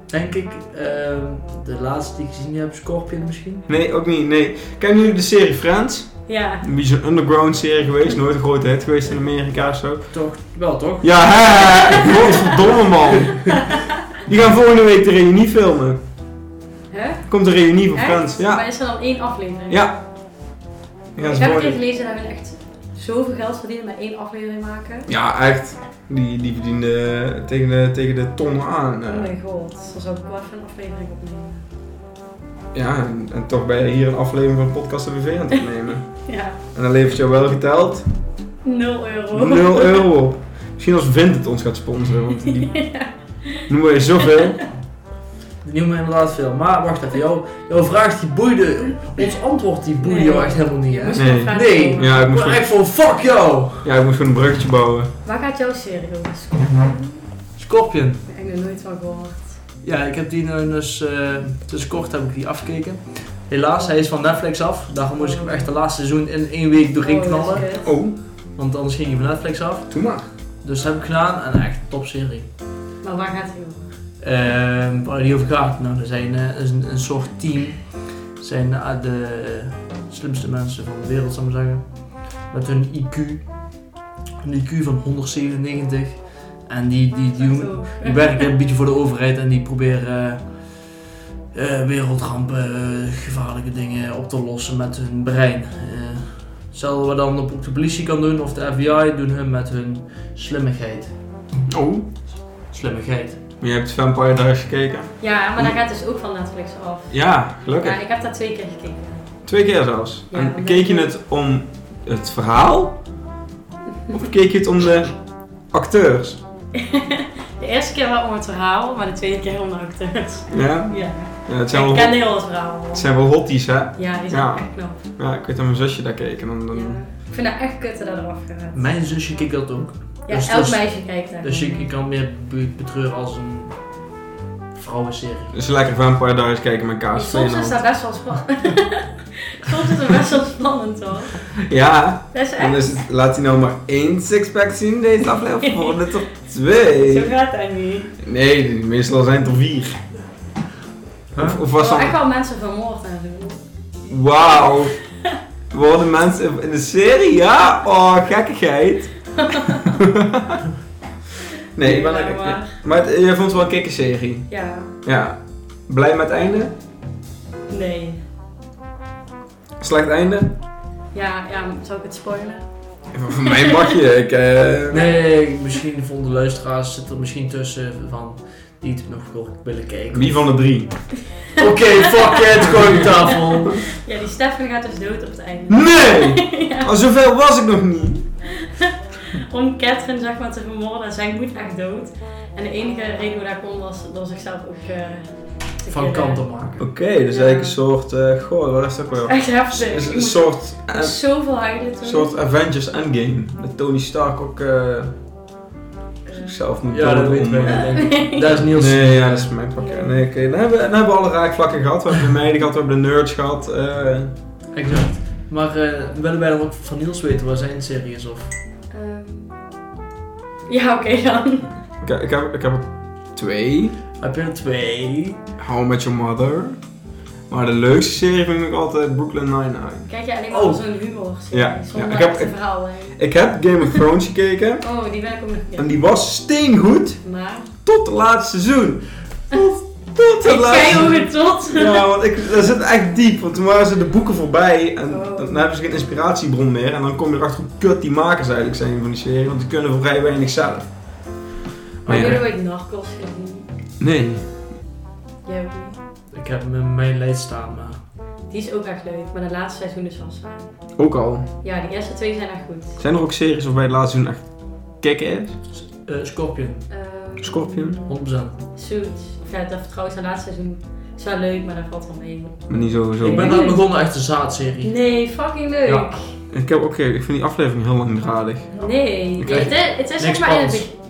S3: denk ik, ehm, de laatste die ik gezien heb, Scorpion misschien.
S1: Nee, ook niet, nee. Kennen jullie de serie Friends?
S2: Ja.
S1: Een beetje een underground serie geweest, nooit een grote hit geweest in Amerika of zo.
S3: Toch, wel toch?
S1: Ja, hè, hè, hè. [LAUGHS] godverdomme man. Die gaan volgende week de reunie filmen.
S2: Hè?
S1: Komt de reunie van
S2: Echt?
S1: Friends. Ja,
S2: Maar is er dan één aflevering?
S1: ja. Die gaan
S2: ik
S1: ze
S2: heb een
S1: volgende-
S2: keer gelezen dat we echt zoveel geld verdienen met één aflevering maken.
S1: Ja, echt. Die, die verdiende tegen de, tegen de ton aan. eh.
S2: Oh mijn god, dan zou ik wel even een aflevering opnemen.
S1: Ja, en, en toch ben je hier een aflevering van Podcast BV aan het opnemen.
S2: Ja,
S1: En dan levert jou wel geteld
S2: 0 euro.
S1: 0
S2: [LAUGHS]
S1: euro op. Misschien als Vint het ons gaat sponsoren, want die noemen we zoveel.
S3: Die noemen inderdaad veel. Maar wacht even, jouw, jouw vraag die boeide, ons antwoord die boeide
S2: Nee.
S3: jou echt helemaal niet, hè?
S2: Moest
S1: Nee.
S2: nog vragen
S3: Nee.
S2: komen.
S1: Ja, ik
S3: Ik
S1: moest
S3: word
S1: gewoon,
S3: echt van fuck jou!
S1: ja, ik moest gewoon een bruggetje bouwen.
S2: Waar gaat jouw serie over?
S3: Scorpion.
S2: Ik heb er nooit van gehoord.
S3: Ja, ik heb die nu dus, eh, dus kort heb ik die afgekeken. Helaas, hij is van Netflix af. Daarom moest ik hem echt de laatste seizoen in één week doorheen
S2: Oh, dat is
S3: knallen.
S2: kut.
S1: Oh,
S3: Want anders ging hij van Netflix af.
S1: doe maar.
S3: Dus dat heb ik gedaan en echt een topserie.
S2: Maar waar gaat hij over?
S3: Ehm waar die over gaat, nou, er zijn, eh, is een, een soort team. Het zijn eh, de slimste mensen van de wereld, zou ik maar zeggen. Met hun IQ. Een IQ van 197. En die, die, die,
S2: Echt hoog.
S3: die werken een beetje voor de overheid en die proberen eh, eh, wereldrampen, eh, gevaarlijke dingen op te lossen met hun brein. Eh, Hetzelfde wat dan op de politie kan doen of de FBI, doen hun met hun slimmigheid.
S1: Oh.
S3: Slimmigheid.
S1: Maar je hebt Vampire Diaries gekeken.
S2: Ja, maar daar gaat dus ook van Netflix af.
S1: Ja, gelukkig.
S2: Ja, ik heb daar twee keer gekeken.
S1: Twee keer zelfs.
S2: Ja,
S1: en
S2: omdat-
S1: keek je het om het verhaal? Of keek je het om de acteurs?
S2: De eerste keer wel om het verhaal, maar de tweede keer om de acteurs.
S1: Ja,
S2: Ja,
S1: ja het, zijn
S2: ik
S1: wel,
S2: ken heel het verhaal.
S1: het zijn wel hotties, hè?
S2: Ja, die zijn
S1: Ja.
S2: echt knap.
S1: Ja, ik weet dat mijn zusje daar keek en dan... dan...
S2: Ja. Ik vind dat echt kut dat dat eraf gaat.
S3: Mijn zusje kijkt dat ook.
S2: Ja,
S3: dus-
S2: elk
S3: dus-
S2: meisje kijkt daar.
S3: Dus ik, ik kan meer be- betreuren als een vrouwenserie.
S1: Dus lekker Vampire Diaries kijken met
S2: Maar
S1: kaas.
S2: Soms is dat best wel spannend. [LAUGHS] Soms is het best wel spannend hoor.
S1: Ja,
S2: Dat is
S1: en
S2: echt...
S1: dus laat hij nou maar één sixpack zien deze aflevering. Volgende tot twee.
S2: Zo gaat dat niet.
S1: Nee, meestal zijn het er vier. Of, of was dan...
S2: Er worden echt wel mensen vermoord en zo.
S1: Wauw. [LAUGHS] Worden mensen in de serie? Ja? Oh, gekkigheid. [LAUGHS] nee, ik ben
S2: Ja,
S1: er
S2: maar-
S1: Maar het- jij vond het wel een kikke serie.
S2: Ja,
S1: Ja. Blij met het einde?
S2: nee.
S1: Slecht einde?
S2: Ja, ja, zou ik het spoilen?
S1: [LAUGHS] Voor mij mag je. Ik, eh,
S3: Nee, misschien vonden de luisteraars zit er misschien tussen van die het nog wel willen kijken.
S1: Wie van de drie?
S3: Oké, fuck
S1: [LAUGHS]
S3: it, gooi op tafel.
S2: Ja, die Stefan gaat dus dood op het einde.
S1: [LAUGHS] Nee! Oh, zoveel was ik nog niet.
S2: Om Catherine zeg maar te vermoorden, en zij moet echt dood. En de enige reden hoe dat kon was door zichzelf ook eh, te
S3: Van
S2: killen.
S3: kant te maken.
S1: Oké, dus eigenlijk een soort... eh, goh, wat is dat ook wel?
S2: Echt heftig.
S1: Is- is
S2: Ik
S1: Een
S2: moest-
S1: soort,
S2: ik
S1: eh,
S2: moest zoveel huilen toen.
S1: een soort Avengers Endgame. Dat Tony Stark ook eh, zichzelf moet
S3: Ja, dat
S1: doden
S3: weten
S1: om, eh,
S3: wij. denk ik. Dat is Niels.
S1: Nee, ja, dat is mijn pakket. Nee, oké. Dan, hebben, dan hebben we alle raakvlakken gehad. We hebben de meiden gehad, we hebben de nerds gehad. eh.
S3: Exact. Maar eh, willen wij dan ook van Niels weten waar zijn serie is? Of...
S2: Ehm, ja, oké dan.
S1: ik, ik, heb, ik heb er twee.
S3: Heb je er twee?
S1: How I Met Your Mother. Maar de leukste serie vind ik altijd Brooklyn Nine-Nine.
S2: Kijk je alleen maar
S3: Oh.
S2: op zo'n humor.
S1: Ja, ja,
S2: Zonder
S1: ik heb-
S2: echte
S1: ik-
S2: verhalen.
S1: Ik heb Game of Thrones [LAUGHS] gekeken.
S2: Oh, die ben ik ook nog
S1: En
S2: niet.
S1: die was steengoed
S2: Maar...
S1: tot het laatste seizoen. Tot, [LAUGHS] tot het
S2: Ik
S1: laatste
S2: kijk
S1: seizoen.
S2: ook het tot.
S1: Ja, want ik, dat zit echt diep. Want toen waren ze de boeken voorbij en
S2: Oh.
S1: dan hebben ze geen inspiratiebron meer. En dan kom je erachter hoe kut die makers eigenlijk zijn van die serie. Want die kunnen vrij weinig zelf.
S2: Maar
S1: Oh, ja.
S2: jullie ooit Narcos gezien?
S1: Nee.
S2: Jij ook niet.
S3: Ik heb hem in mijn lijst staan, eh, maar...
S2: Die is ook echt leuk, maar de laatste seizoen is wel zwaar.
S1: Ook al.
S2: Ja, die eerste twee zijn echt goed.
S1: Zijn er ook series waarbij het laatste seizoen echt kicken is?
S3: eh, Scorpion,
S2: Ehm,
S1: Scorpion?
S3: 100%.
S2: Suits. Of ja, dat trouwens, het laatste seizoen is wel leuk, maar dat valt wel mee.
S1: Maar niet sowieso.
S3: Ik
S1: Ik,
S3: ben net begonnen echt een zaadserie.
S2: Nee, fucking leuk.
S3: Ja.
S1: heb ook, ik vind die aflevering heel langdradig.
S2: Nee,
S3: Ik
S2: het, is-
S3: krijg
S2: het is zeg
S3: niks
S2: maar in het,
S3: spannends.
S2: be-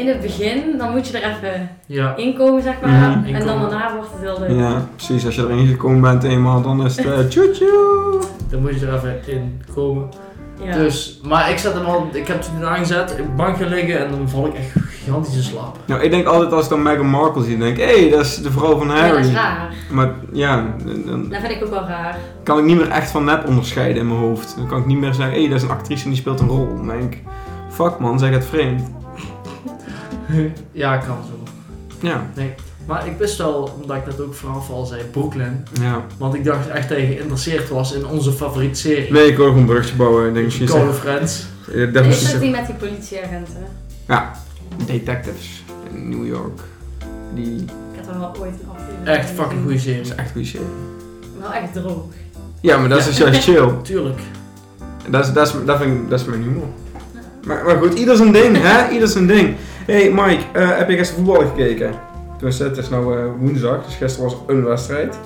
S2: in het begin, dan moet je er even
S3: Ja.
S2: inkomen, zeg maar.
S1: Mhm,
S2: En dan
S3: inkomen.
S2: daarna wordt het heel leuk.
S1: Ja, precies. Als je erin gekomen bent eenmaal, dan is het
S2: [LAUGHS]
S1: eh, tjoe tjoe.
S3: Dan moet je er even in komen.
S2: Ja.
S3: Dus, maar ik zet hem al, ik heb het nu aangezet, ik bank gaan liggen en dan val ik echt gigantisch in slaap.
S1: Nou, ik denk altijd als ik dan Meghan Markle zie, denk ik, hé, hey, dat is de vrouw van
S2: Ja, dat
S1: Harry.
S2: is raar.
S1: maar ja, dan
S2: Dat vind ik ook wel raar.
S1: kan ik niet meer echt van nep onderscheiden in mijn hoofd. Dan kan ik niet meer zeggen, hé, hey, dat is een actrice en die speelt een rol. Dan denk ik, fuck man, zeg het vreemd.
S3: ja, kan zo.
S1: Ja,
S3: Maar ik wist wel, omdat ik net ook vooraf al zei, Brooklyn.
S1: ja.
S3: Want ik dacht echt dat je geïnteresseerd was in onze favoriete serie.
S1: Nee, ik wil gewoon een brugje bouwen. Ik denk, misschien
S3: Call of Friends.
S1: Eh, Dat
S2: Is
S1: is
S2: dat die met die politieagenten?
S1: Detectives in New York. Die
S2: Ik had er wel ooit een aflevering
S3: Echt
S2: van
S3: fucking
S2: gezien.
S3: goede
S1: is
S3: serie.
S1: echt cliché.
S2: Wel echt droog.
S1: Ja, maar dat is juist chill.
S3: Tuurlijk.
S1: Dat is, dat is, dat vind ik, dat is mijn humor. Maar, maar goed, ieder zijn ding, hè? Ieder zijn ding. hey Mike, eh, heb je gisteren voetbal gekeken? Dus het is nou eh, woensdag, dus gisteren was een wedstrijd.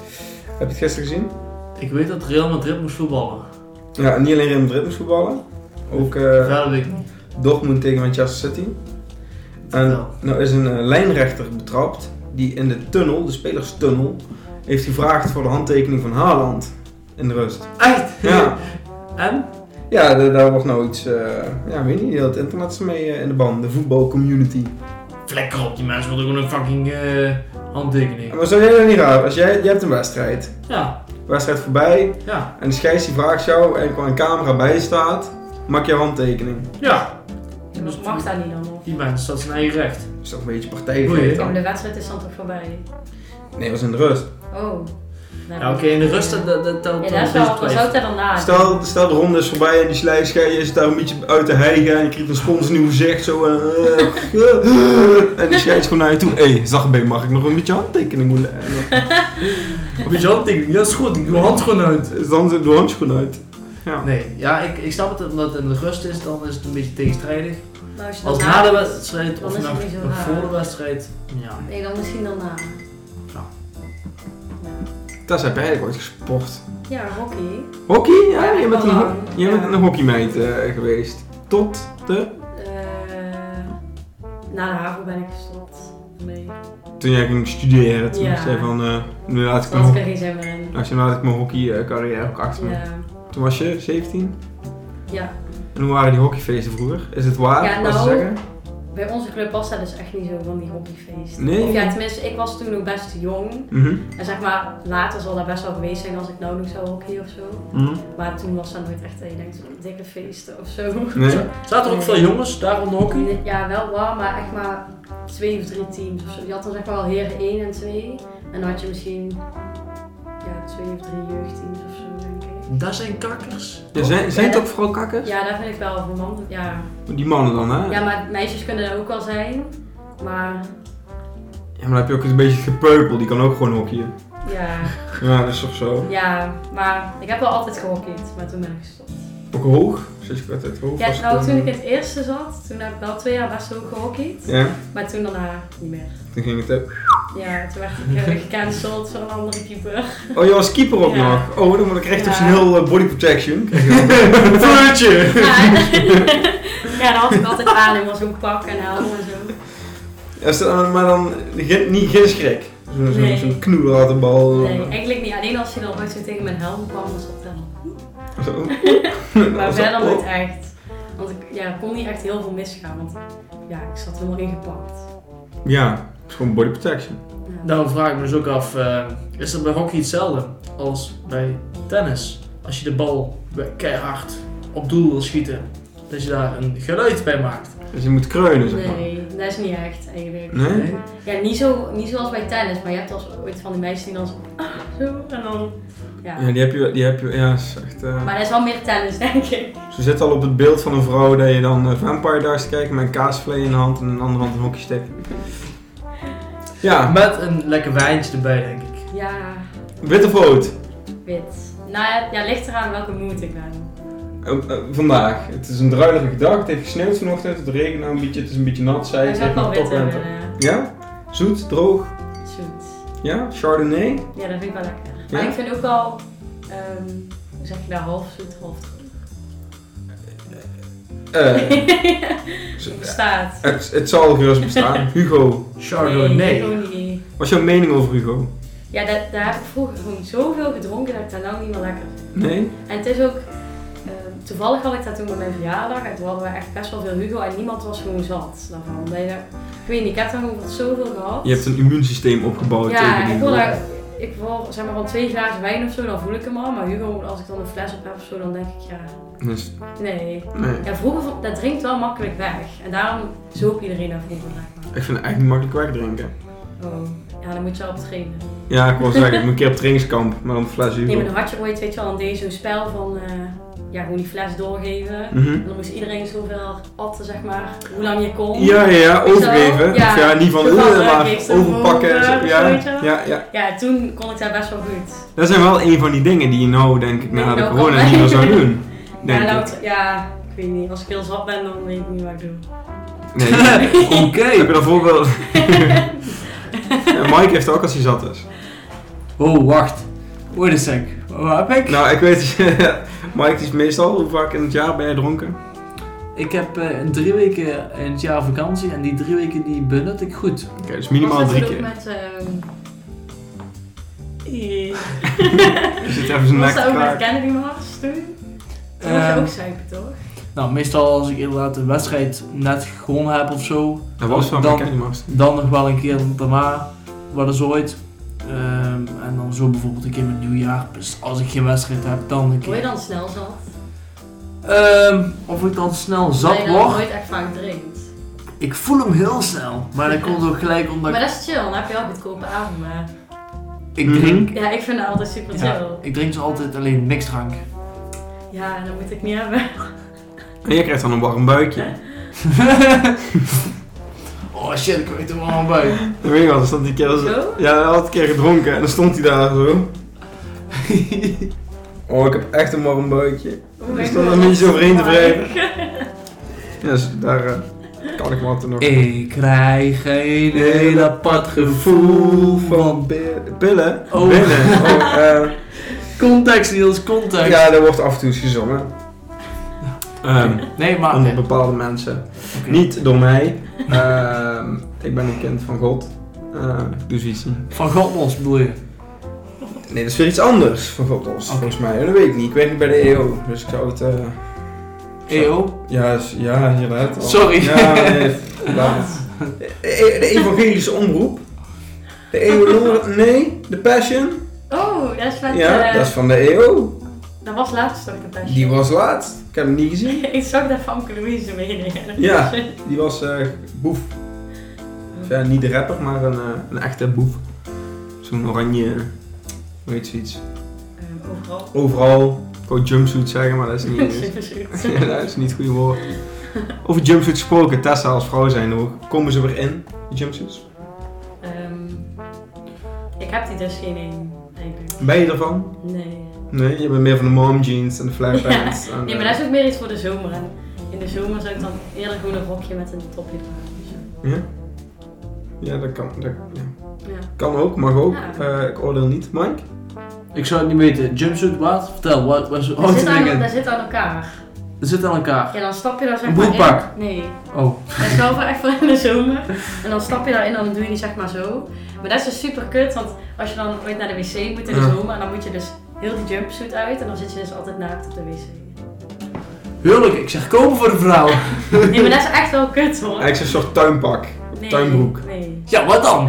S1: Heb je het gisteren gezien?
S3: Ik weet dat Real Madrid moest voetballen.
S1: Ja, en niet alleen Real Madrid moest voetballen. Ook eh,
S3: Verder weet ik niet.
S1: Dortmund tegen Manchester City. En
S3: Vertel.
S1: nou is een eh, lijnrechter betrapt die in de tunnel, de spelerstunnel, heeft gevraagd voor de handtekening van Haaland in de rust.
S3: Echt?
S1: Ja.
S3: [LAUGHS] En?
S1: Ja, da- daar wordt nou iets, eh, ja, weet niet, heel het internet is mee eh, in de ban, de voetbalcommunity.
S3: Vlekker op, die mensen wilden gewoon een fucking eh, handtekening.
S1: Maar zou jij dat niet raar, als jij, je hebt een wedstrijd,
S3: Ja,
S1: wedstrijd voorbij,
S3: ja,
S1: en de scheids die vraagt jou en qua een camera bij je staat, maak je handtekening.
S3: ja.
S2: Dat mag dat niet dan nog.
S3: Die mensen, dat is een eigen recht.
S1: Dat is toch een beetje
S3: Boeien.
S1: partijvreed
S2: Ja,
S1: dan?
S2: maar
S1: Nee,
S2: de wedstrijd is dan toch voorbij?
S1: dat was in de rust.
S2: Oh. Nou,
S3: Ja, oké, in de rust, dat, dat, dat telt
S2: Ja, dat is
S3: dan
S2: wel, dat is altijd daarna.
S1: Stel, stel de ronde is voorbij en die slijpscheier is daar een beetje uit te hijgen en je krijgt een spons nieuw gezicht zo en, [LAUGHS] en die scheids gewoon naar je toe. Hé, hey, Zagbe, mag ik nog een beetje handtekening moeten
S3: Met je handtekening, ja, is goed, ik doe hand gewoon uit.
S1: Dus [LAUGHS] dan zit de handschoen uit. Ja.
S3: Nee, ja, ik, ik snap het, omdat het in de rust is, dan is het een beetje tegenstrijdig.
S2: Maar als je
S3: Als
S2: dan
S3: na de
S2: na-
S3: wedstrijd
S2: Dan
S3: of
S2: is het
S3: nog,
S2: niet zo
S3: nog
S2: raar.
S3: voor de wedstrijd, ja.
S2: Nee, dan misschien dan na.
S3: Nou.
S1: Dat heb jij eigenlijk ooit gesport.
S2: Ja, hockey.
S1: Hockey? Ja,
S2: Ja,
S1: je
S2: ik
S1: bent een,
S2: wel
S1: ho-
S2: lang.
S1: je bent
S2: Ja.
S1: een hockeymeid eh, geweest. Tot de...
S2: Eh, na de HAVO ben ik gestopt. Nee.
S1: Toen jij ging studeren, toen
S2: Ja.
S1: zei van... eh, nu laat ik
S2: Dat had ik
S1: mijn,
S2: er geen zin meer in.
S1: nou, toen laat ik mijn hockeycarrière ook achter me.
S2: Ja.
S1: Toen was je 17.
S2: ja.
S1: En hoe waren die hockeyfeesten vroeger? Is het waar?
S2: Ja,
S1: wat ze
S2: nou,
S1: zeggen?
S2: Bij onze club was dat dus echt niet zo van die hobbyfeest.
S1: Nee.
S2: Of ja, tenminste, ik was toen nog best jong.
S1: Mhm.
S2: En zeg maar, later zal dat best wel geweest zijn als ik nou nog zou hockey of zo.
S1: Mhm.
S2: Maar toen was dat nooit echt, dat je denkt, zo'n dikke feesten of zo.
S1: Nee.
S3: Zaten er ook veel jongens daar onder hockey?
S2: Ja, wel warm, maar echt maar twee of drie teams of zo. Je had dan zeg maar wel heren 1 en 2. En dan had je misschien ja, twee of drie jeugdteams of zo, denk ik.
S3: Dat zijn kakkers.
S1: Ja, zijn, zijn het ook vooral kakkers?
S2: Ja, daar vind ik wel voor mannen. Ja.
S1: Die mannen dan, hè?
S2: ja, maar meisjes kunnen er ook wel zijn. Maar
S1: Ja, maar dan heb je ook een beetje gepeupel, die kan ook gewoon hockeyen.
S2: ja,
S1: Ja, dat is toch zo.
S2: ja, maar ik heb wel altijd gehockeyd, maar toen ben ik gestopt.
S1: Ook hoog? Sinds ik altijd hoog was
S2: Ja,
S1: het
S2: nou
S1: dan,
S2: toen ik
S1: eh,
S2: in het eerste zat, toen heb ik wel twee jaar best ook gehockeyd.
S1: Ja,
S2: Maar toen daarna niet meer.
S1: toen ging het... eh,
S2: Ja, toen werd ik eh, [LAUGHS] gecanceld voor een andere keeper.
S1: Oh, je was keeper ook
S2: Ja.
S1: nog? Oh, dan moet ik recht op
S2: Ja.
S1: zijn heel eh, body protection.
S3: Vuurtje!
S2: Ja, ja dan had ik altijd aan in zo'n pak en helm en zo.
S1: Ja, stel, eh, maar dan geen- niet geen schrik. Zo'n zo,
S2: Nee.
S1: zo'n eh, knoer had de bal.
S2: Nee, eigenlijk niet. Alleen als je dan ooit zo tegen mijn helm kwam, was dat dan. [LAUGHS]
S1: Zo.
S2: Maar
S1: Zo.
S2: verder niet echt. Want ik ja, er kon niet echt heel veel misgaan, want ja, ik zat helemaal ingepakt.
S1: Ja, het is gewoon body protection.
S2: Ja.
S3: Daarom vraag ik me dus ook af, eh, is dat bij hockey hetzelfde als bij tennis? Als je de bal bij- keihard op doel wil schieten, dat je daar een geluid bij maakt.
S1: Dus je moet kreunen, zeg maar.
S2: Nee, dat is niet echt eigenlijk.
S1: Nee?
S2: Ja, niet, zo, niet zoals bij tennis, maar je hebt als ooit van die meisjes die dan zo, ah, zo en dan. Ja.
S1: Ja, die heb je, die heb je, ja, is echt... eh,
S2: Maar dat is wel meer tennis, denk ik.
S1: Ze zit al op het beeld van een vrouw dat je dan eh, Vampire Diaries kijkt met een kaasvlee in de hand en in de andere hand een hockeystick. Ja,
S3: Met een lekker wijntje erbij, denk ik.
S2: Ja,
S1: wit of rood?
S2: wit. Nou ja, ja, ligt eraan welke moed ik ben.
S1: Eh, eh, vandaag. Het is een druilige dag, het heeft gesneeuwd vanochtend, het regent nou een beetje, het is een beetje nat, zei
S2: Ik
S1: het.
S2: heb
S1: heeft
S2: wel eh.
S1: nog
S2: wit
S1: toppen en
S2: hebben.
S1: zo. Ja? Zoet, droog,
S2: eh, Zoet.
S1: ja? Chardonnay?
S2: Ja, dat vind ik wel lekker.
S1: Ja?
S2: Maar ik vind ook wel, ehm, hoe zeg je dat, half zoet, half droog.
S1: Eh,
S2: [LAUGHS] Het bestaat.
S1: het, het zal gerust
S2: [LAUGHS]
S1: bestaan. Hugo.
S2: Nee,
S3: Chardonnay.
S2: gewoon niet.
S1: Wat is jouw mening over Hugo?
S2: Ja, dat, daar heb ik vroeger gewoon zoveel gedronken dat ik daar nou niet meer lekker vind.
S1: Nee?
S2: En het is ook, ehm, toevallig had ik dat toen bij mijn verjaardag en toen hadden we echt best wel veel Hugo en niemand was gewoon zat daarvan. Omdat je daar- ik weet niet, ik heb daar gewoon zoveel gehad.
S1: Je hebt een immuunsysteem opgebouwd tegen
S2: ja,
S1: die
S2: ik wil
S1: drog.
S2: daar, ik wil zeg maar van twee glazen wijn of zo, dan voel ik hem al. Maar Hugo, als ik dan een fles op heb of zo, dan denk ik ja,
S1: Dus,
S2: nee.
S1: nee.
S2: Ja, vroeger, vond- dat drinkt wel makkelijk weg. En daarom zoop iedereen daar vroeger naar.
S1: Ik vind het eigenlijk niet makkelijk wegdrinken.
S2: Oh, ja, dan moet je wel op trainen.
S1: Ja, ik wil zeggen, ik moet een keer op trainingskamp, maar dan een fles Hugo.
S2: Nee, maar dan had je ooit, weet je wel, dan deed je zo'n spel van, eh, ja, gewoon die fles doorgeven.
S1: Mhm.
S2: En dan moest iedereen zoveel atten, zeg maar, hoe lang je kon.
S1: Ja, ja, ja, overgeven.
S2: Zo,
S1: Of ja.
S2: ja.
S1: niet van
S2: Zo van,
S1: eh,
S2: eh,
S1: maar
S2: niks te
S1: overpakken. en
S2: voelen,
S1: zo. Ja,
S2: weet je wel.
S1: ja, ja.
S2: Ja, toen kon ik daar best wel goed.
S1: Dat zijn wel een van die dingen die je nou, denk ik, na
S2: Nee,
S1: de
S2: nou
S1: corona
S2: kan.
S1: niet meer
S2: [LAUGHS]
S1: zou doen. Denk
S2: ja,
S1: ik.
S2: nou, ja, ik weet niet. Als ik heel zat ben, dan weet ik niet wat ik doe.
S1: Nee.
S2: [LAUGHS]
S3: Oké. [LAUGHS]
S1: Heb je daar voorbeeld? [LAUGHS] ja, Mike heeft ook als hij zat is.
S3: Oh, wacht. Wait a sec. Waar heb ik?
S1: [LAUGHS] Nou, ik weet, Mike die is meestal, hoe vaak in het jaar ben jij dronken?
S3: Ik heb eh, drie weken in het jaar vakantie en die drie weken die benut ik goed.
S1: Oké, dus minimaal
S2: Was dat
S1: drie
S2: het
S1: keer.
S2: ook met... ehm, eh,
S1: Je zit even zijn nek
S2: Was
S1: te
S2: dat ook met
S1: kraken.
S2: Kennedy Mars toen? Toen moest je
S3: Ehm,
S2: ook zuipen, toch?
S3: nou, meestal als ik inderdaad een wedstrijd net gewonnen heb of zo,
S1: Dat was van
S3: Dan-
S1: mijn kennismaster.
S3: Dan nog wel een keer daarna, wat is ooit. Ehm, en dan zo bijvoorbeeld een keer met nieuwjaar. Dus als ik geen wedstrijd heb, dan een
S2: Word je
S3: keer.
S2: dan snel zat?
S3: Ehm, of ik dan snel
S2: Dat
S3: zat
S2: je dan
S3: word.
S2: nooit echt vaak drinkt.
S3: Ik voel hem heel snel. Maar dat komt ook gelijk omdat
S2: Maar
S3: ik,
S2: dat is chill, dan heb je wel goedkope avonden.
S3: ik drink.
S2: Ja, ik vind dat altijd super
S3: Ja.
S2: chill.
S3: Ik drink dus altijd alleen niks
S2: [LAUGHS]
S3: drank.
S2: Ja, dat moet ik niet hebben.
S1: En jij krijgt dan een warm buikje.
S3: oh shit, ik weet er wel aan bij.
S1: Dat weet ik wel, dan stond die keer... als-
S2: Zo?
S1: Ja, hij had een keer gedronken en dan stond hij daar zo. [LAUGHS] Oh, ik heb echt een warm buikje.
S2: Hoe
S1: Dus
S2: ik
S1: dan
S2: me-
S1: een beetje overheen
S2: Oh
S1: te wrijven. Ja, dus daar eh, kan ik wat nog.
S3: ik krijg een heel apart gevoel van...
S1: bi- pillen.
S3: Oh.
S1: Binnen. [LAUGHS] Oh, eh,
S3: Context, Niels, context.
S1: ja, dat wordt af en toe eens gezongen. Ehm,
S3: Oh, Nee, maar...
S1: onder bepaalde mensen.
S3: Oké.
S1: Niet door mij. Ehm, ik ben een kind van God. Eh, ik doe zoiets niet.
S3: Van Godmos bedoel je?
S1: Nee, dat is weer iets anders van God los,
S3: Oké.
S1: volgens mij. Dat weet ik niet. Ik weet niet bij de EO. Dus ik zou het... eh,
S3: EO?
S1: Ja, is- ja, inderdaad. al.
S3: Sorry.
S1: Ja, nee, laat
S3: [LAUGHS]
S1: het. E- De evangelische omroep. De EO, nee, de Passion.
S2: Oh, dat is wat...
S1: Ja,
S2: eh,
S1: dat is van de EO.
S2: dat was laatst ook een testje.
S1: Die was laatst. Ik heb hem niet gezien.
S2: [LAUGHS] ik zag dat Famke Louise meenemen.
S1: Ja, die was eh, boef. Of
S2: Ehm,
S1: ja, niet de rapper, maar een, eh, een echte boef. Zo'n oranje, hoe heet zoiets.
S2: Ehm, overal.
S1: Overal, ik wou jumpsuit zeggen, maar dat
S2: [LAUGHS]
S1: is niet... [LAUGHS]
S2: Super zoet.
S1: Ja, dat is niet het goede woord. Over jumpsuits gesproken, Tessa als vrouw zijn hoe Komen ze weer in, die jumpsuits?
S2: Ehm, ik heb die dus geen één. eigenlijk.
S1: Ben je ervan?
S2: Nee.
S1: Nee, je bent meer van de mom jeans en de flat pants. en, eh,
S2: Nee, maar dat is ook meer iets voor de zomer. En in de zomer zou ik dan eerder gewoon een rokje met een topje dragen. dus- of zo.
S1: eh, Ja, ja dat, kan, dat ja.
S2: Ja.
S1: kan ook, mag ook.
S2: Ja.
S1: Eh, ik oordeel niet, Mike.
S3: Ik zou het niet weten. Jumpsuit wat? Vertel, wat was het?
S2: Dat,
S3: Oh,
S2: zit aan, dat
S3: het
S2: zit aan elkaar.
S3: zit aan elkaar.
S2: Ja, dan stap je daar zeg
S3: Een
S2: maar
S3: broekpak?
S2: in. Nee.
S3: Oh.
S2: Dat is wel voor echt voor in de zomer. En dan stap je daarin en dan doe je die zeg maar zo. Maar dat is dus super kut, want als je dan ooit naar de wc moet in de
S1: Ja.
S2: zomer, en dan moet je dus heel die jumpsuit uit en dan zit je dus altijd naakt op de wc.
S3: Heerlijk, ik zeg kopen voor de vrouw.
S2: Nee, maar dat is echt wel kut hoor.
S1: Eigenlijk zo'n soort tuinpak.
S2: nee,
S1: tuinbroek.
S2: Nee.
S3: Ja, wat
S2: Eh.
S3: dan?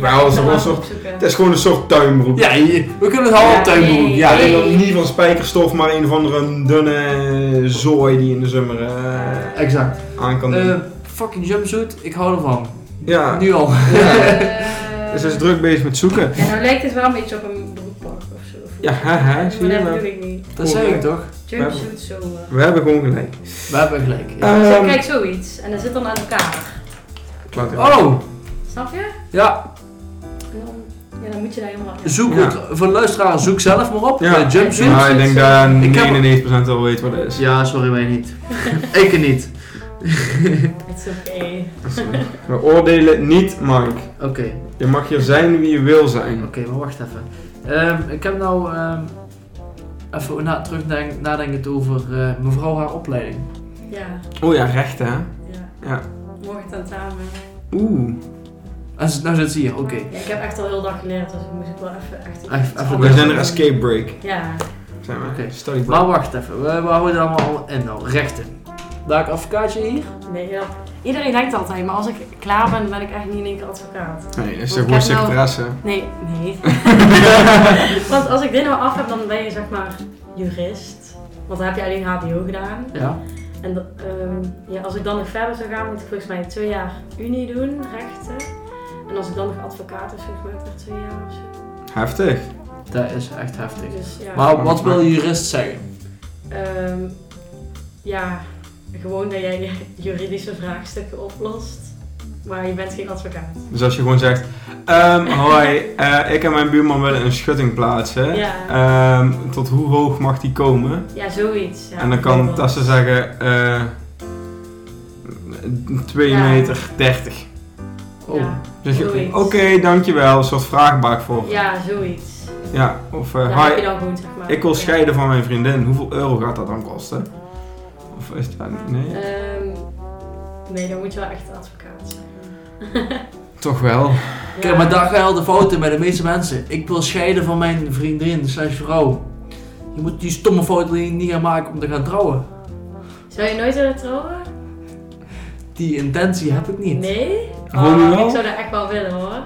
S1: Wel, het is wel een soort, het is gewoon een soort tuinbroek.
S3: Ja, je- we kunnen het half
S2: Ja,
S3: tuinbroek.
S2: nee.
S3: Ja,
S1: Alleen
S3: nee.
S1: dan niet van spijkerstof, maar een van de dunne zooi die je in de zomer eh,
S3: exact.
S1: aan kan doen.
S3: Eh, fucking jumpsuit, ik hou ervan.
S1: ja.
S3: Nu al.
S1: ja. Dus ze is druk bezig met zoeken.
S2: En Eh, nou lijkt het wel een beetje op een broekpak of zo.
S1: Ja, haha, zie
S2: Maar
S1: je
S2: dat
S1: wel.
S2: bedoel ik niet.
S3: Dat zei ik toch?
S2: Jumpsuit zomer.
S1: We hebben gewoon gelijk.
S3: We hebben gelijk. ja.
S1: Ehm,
S2: Zo, kijk zoiets. En dat zit dan aan elkaar.
S1: ik laat het-
S3: Oh,
S2: Snap je?
S3: ja.
S2: En dan, ja, dan moet je daar helemaal
S3: Zoek
S1: Ja.
S3: het. Voor de luisteraar, zoek zelf maar op.
S1: Ja.
S3: Eh, jumpsuit.
S1: Ja, ik denk dat
S3: Ik heb-
S1: 99% al weet wat het is.
S3: Ja, sorry, wij niet. [LAUGHS] ik het niet.
S2: It's okay.
S1: We oordelen niet, Mike.
S3: Oké.
S1: Je mag hier zijn wie je wil zijn.
S3: Oké, maar wacht even. Ehm, ik heb nou ehm, even na, terug nadenkend over eh, mevrouw haar opleiding.
S2: Ja,
S1: Oh ja, rechten hè?
S2: ja.
S1: Ja.
S2: Morgen tentamen.
S1: Oeh.
S3: En ze- nou zit ze hier, oké.
S2: Ja, ik heb echt al heel dag geleerd, dus ik moest ik wel even echt...
S3: Even- even
S2: anders
S1: We
S3: Ja.
S1: zijn er
S2: doen.
S1: escape break.
S2: Ja.
S1: Zijn we.
S3: Oké.
S1: Study break.
S3: Maar wacht even, we, we houden het allemaal in nou. Rechten. Daar ik advocaatje hier?
S2: Nee, ja. Iedereen denkt altijd, maar als ik klaar ben, ben ik echt niet in één keer advocaat.
S1: Nee, dat is gewoon
S2: Want ik heb nou-
S1: secretaresse.
S2: Nee,
S3: [LAUGHS]
S2: nee. Want als ik dit nou af heb, dan ben je zeg maar jurist. Want dan heb je alleen HBO gedaan.
S3: Ja.
S2: En dat, ehm, ja, als ik dan nog verder zou gaan, moet ik volgens mij twee jaar unie doen, rechten. En als ik dan nog advocaat is, volgens mij ook nog twee jaar of zo.
S1: Heftig.
S3: Dat is echt heftig.
S2: Dus ja.
S3: Maar wat wil je jurist zeggen?
S2: Ehm, ja, gewoon dat jij [LAUGHS] juridische vraagstukken oplost, maar je bent geen advocaat.
S1: Dus als je gewoon zegt, ehm, hoi, eh, ik en mijn buurman willen een schutting plaatsen.
S2: Ja.
S1: Ehm, tot hoe hoog mag die komen?
S2: Ja, zoiets. Ja,
S1: en dan kan
S2: bijvoorbeeld.
S1: Tessa zeggen, eh 2
S2: Ja.
S1: meter 30.
S3: Oh.
S2: Ja,
S1: Dan Zeg Dus je,
S2: Zoiets.
S1: oké, dankjewel, een soort vraagbaak voor.
S2: ja, zoiets.
S1: Ja, of Oh. eh,
S2: Daar heb je
S1: hi,
S2: dan gewoon, zeg maar.
S1: ik wil
S2: Ja.
S1: scheiden van mijn vriendin, hoeveel euro gaat dat dan kosten? Of is het daar- Nee?
S2: Ehm, nee, dan moet je wel echt advocaat zijn.
S1: Toch wel.
S3: Kijk, maar daar gaat al de fout in bij de meeste mensen. Ik wil scheiden van mijn vriendin slash vrouw. Je moet die stomme fout die je niet gaan maken om te gaan trouwen.
S2: Zou je nooit willen trouwen?
S3: Die intentie heb ik niet.
S2: Nee?
S1: Gewoon
S2: Oh,
S1: wel?
S2: Ik zou dat echt wel willen hoor.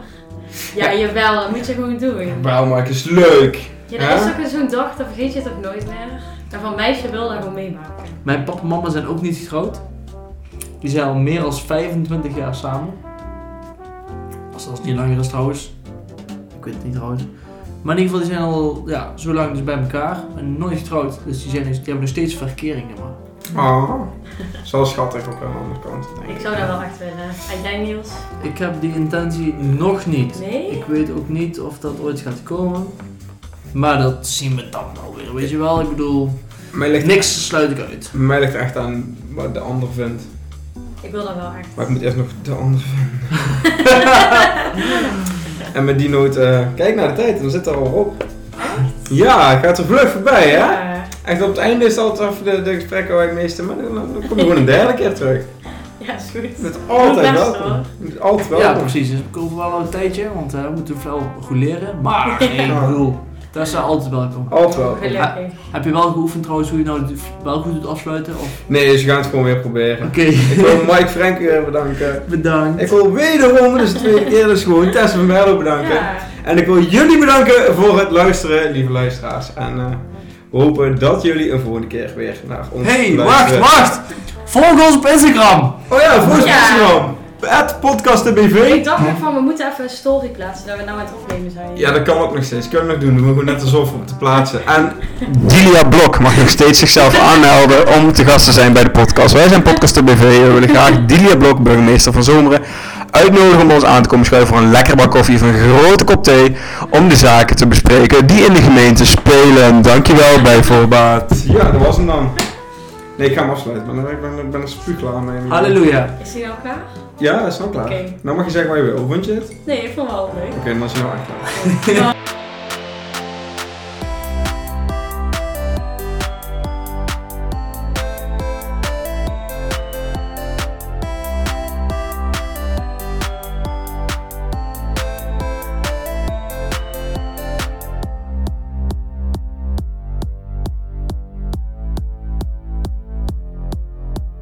S2: Ja, jawel, dat moet je gewoon doen.
S1: Wauw, Mark is leuk.
S2: Ja,
S1: Ja?
S2: dat is ook zo'n dag, dan vergeet je het ook nooit meer. En van meisje wil dat gewoon meemaken.
S3: Mijn papa en mama zijn ook niet getrouwd. Die zijn al meer dan 25 jaar samen. Als dat niet langer is trouwens. Ik weet het niet trouwens. Maar in ieder geval, die zijn al ja, zo lang dus bij elkaar. En nooit getrouwd. Dus die, zijn, die hebben nog steeds verkeringen. Maar.
S1: Oh. Zo schattig op een andere kant. Denk ik.
S2: Ik zou dat wel echt willen. En jij Niels?
S3: Ik heb die intentie nog niet.
S2: Nee?
S3: Ik weet ook niet of dat ooit gaat komen. Maar dat zien we dan wel weer, weet je wel? Ik bedoel,
S1: Mij ligt,
S3: niks sluit ik uit.
S1: mij ligt echt aan wat de ander vindt.
S2: Ik wil dat wel echt.
S1: Maar ik moet eerst nog de ander
S2: [LAUGHS]
S1: vinden. en met die noot, eh, kijk naar de tijd, dan zit er al op. Ja, gaat er vlug voorbij, hè?
S2: Ja.
S1: Echt op het einde is het altijd even de, de gesprekken waar ik meeste, maar dan, dan kom je gewoon een derde keer terug.
S2: Ja, is
S1: Je
S2: goed.
S1: bent altijd
S2: Doe best,
S1: welkom. Oh,
S2: hoor.
S1: Je bent altijd
S3: Ja,
S1: welkom.
S3: precies. Dus ik over wel een tijdje, want eh, we moeten wel goed leren. Maar nee, ik bedoel, daar zijn we altijd welkom.
S1: altijd welkom.
S2: Gelukkig.
S3: Heb je wel geoefend trouwens hoe je nou de- wel goed doet afsluiten? Of...
S1: Nee, dus we gaan het gewoon weer proberen.
S3: Oké,
S1: Ik wil
S3: [LAUGHS]
S1: Mike Frank weer bedanken.
S3: bedankt.
S1: Ik wil wederom, dus de tweede keer, dus gewoon Tess van Merlo bedanken.
S2: Ja.
S1: En ik wil jullie bedanken voor het luisteren, lieve luisteraars. En eh, we hopen dat jullie een volgende keer weer naar ons
S3: Hey, wacht,
S1: luisteren.
S3: wacht! Volg ons op Instagram!
S1: Oh ja, voor
S2: Ja.
S1: Instagram. Het
S2: Ik
S1: podcastenbv.
S2: dacht ook van, we moeten even een story plaatsen dat we nou aan het opnemen zijn.
S1: Ja, dat kan ook nog steeds. Kunnen we nog doen. We moeten net alsof op te plaatsen. En Dilia Blok mag nog steeds zichzelf aanmelden om te gast te zijn bij de podcast. Wij zijn Podcaster BV en we willen graag Dilia Blok, burgemeester van Zomeren, uitnodigen om ons aan te komen schuiven voor een lekker bak koffie of een grote kop thee om de zaken te bespreken die in de gemeente spelen. Dankjewel bij voorbaat. Ja, dat was hem dan. Nee, ik ga hem afsluiten, maar ik ben, ik ben er spuugklaar mee.
S3: Halleluja!
S2: Is die nou klaar?
S1: Ja, dat is nou klaar.
S2: Oké.
S1: Nou mag je zeggen wat je wil. Vond je het? Oké,
S2: Nee, ik vond het wel leuk.
S1: dan is je nou echt klaar.
S2: Ja.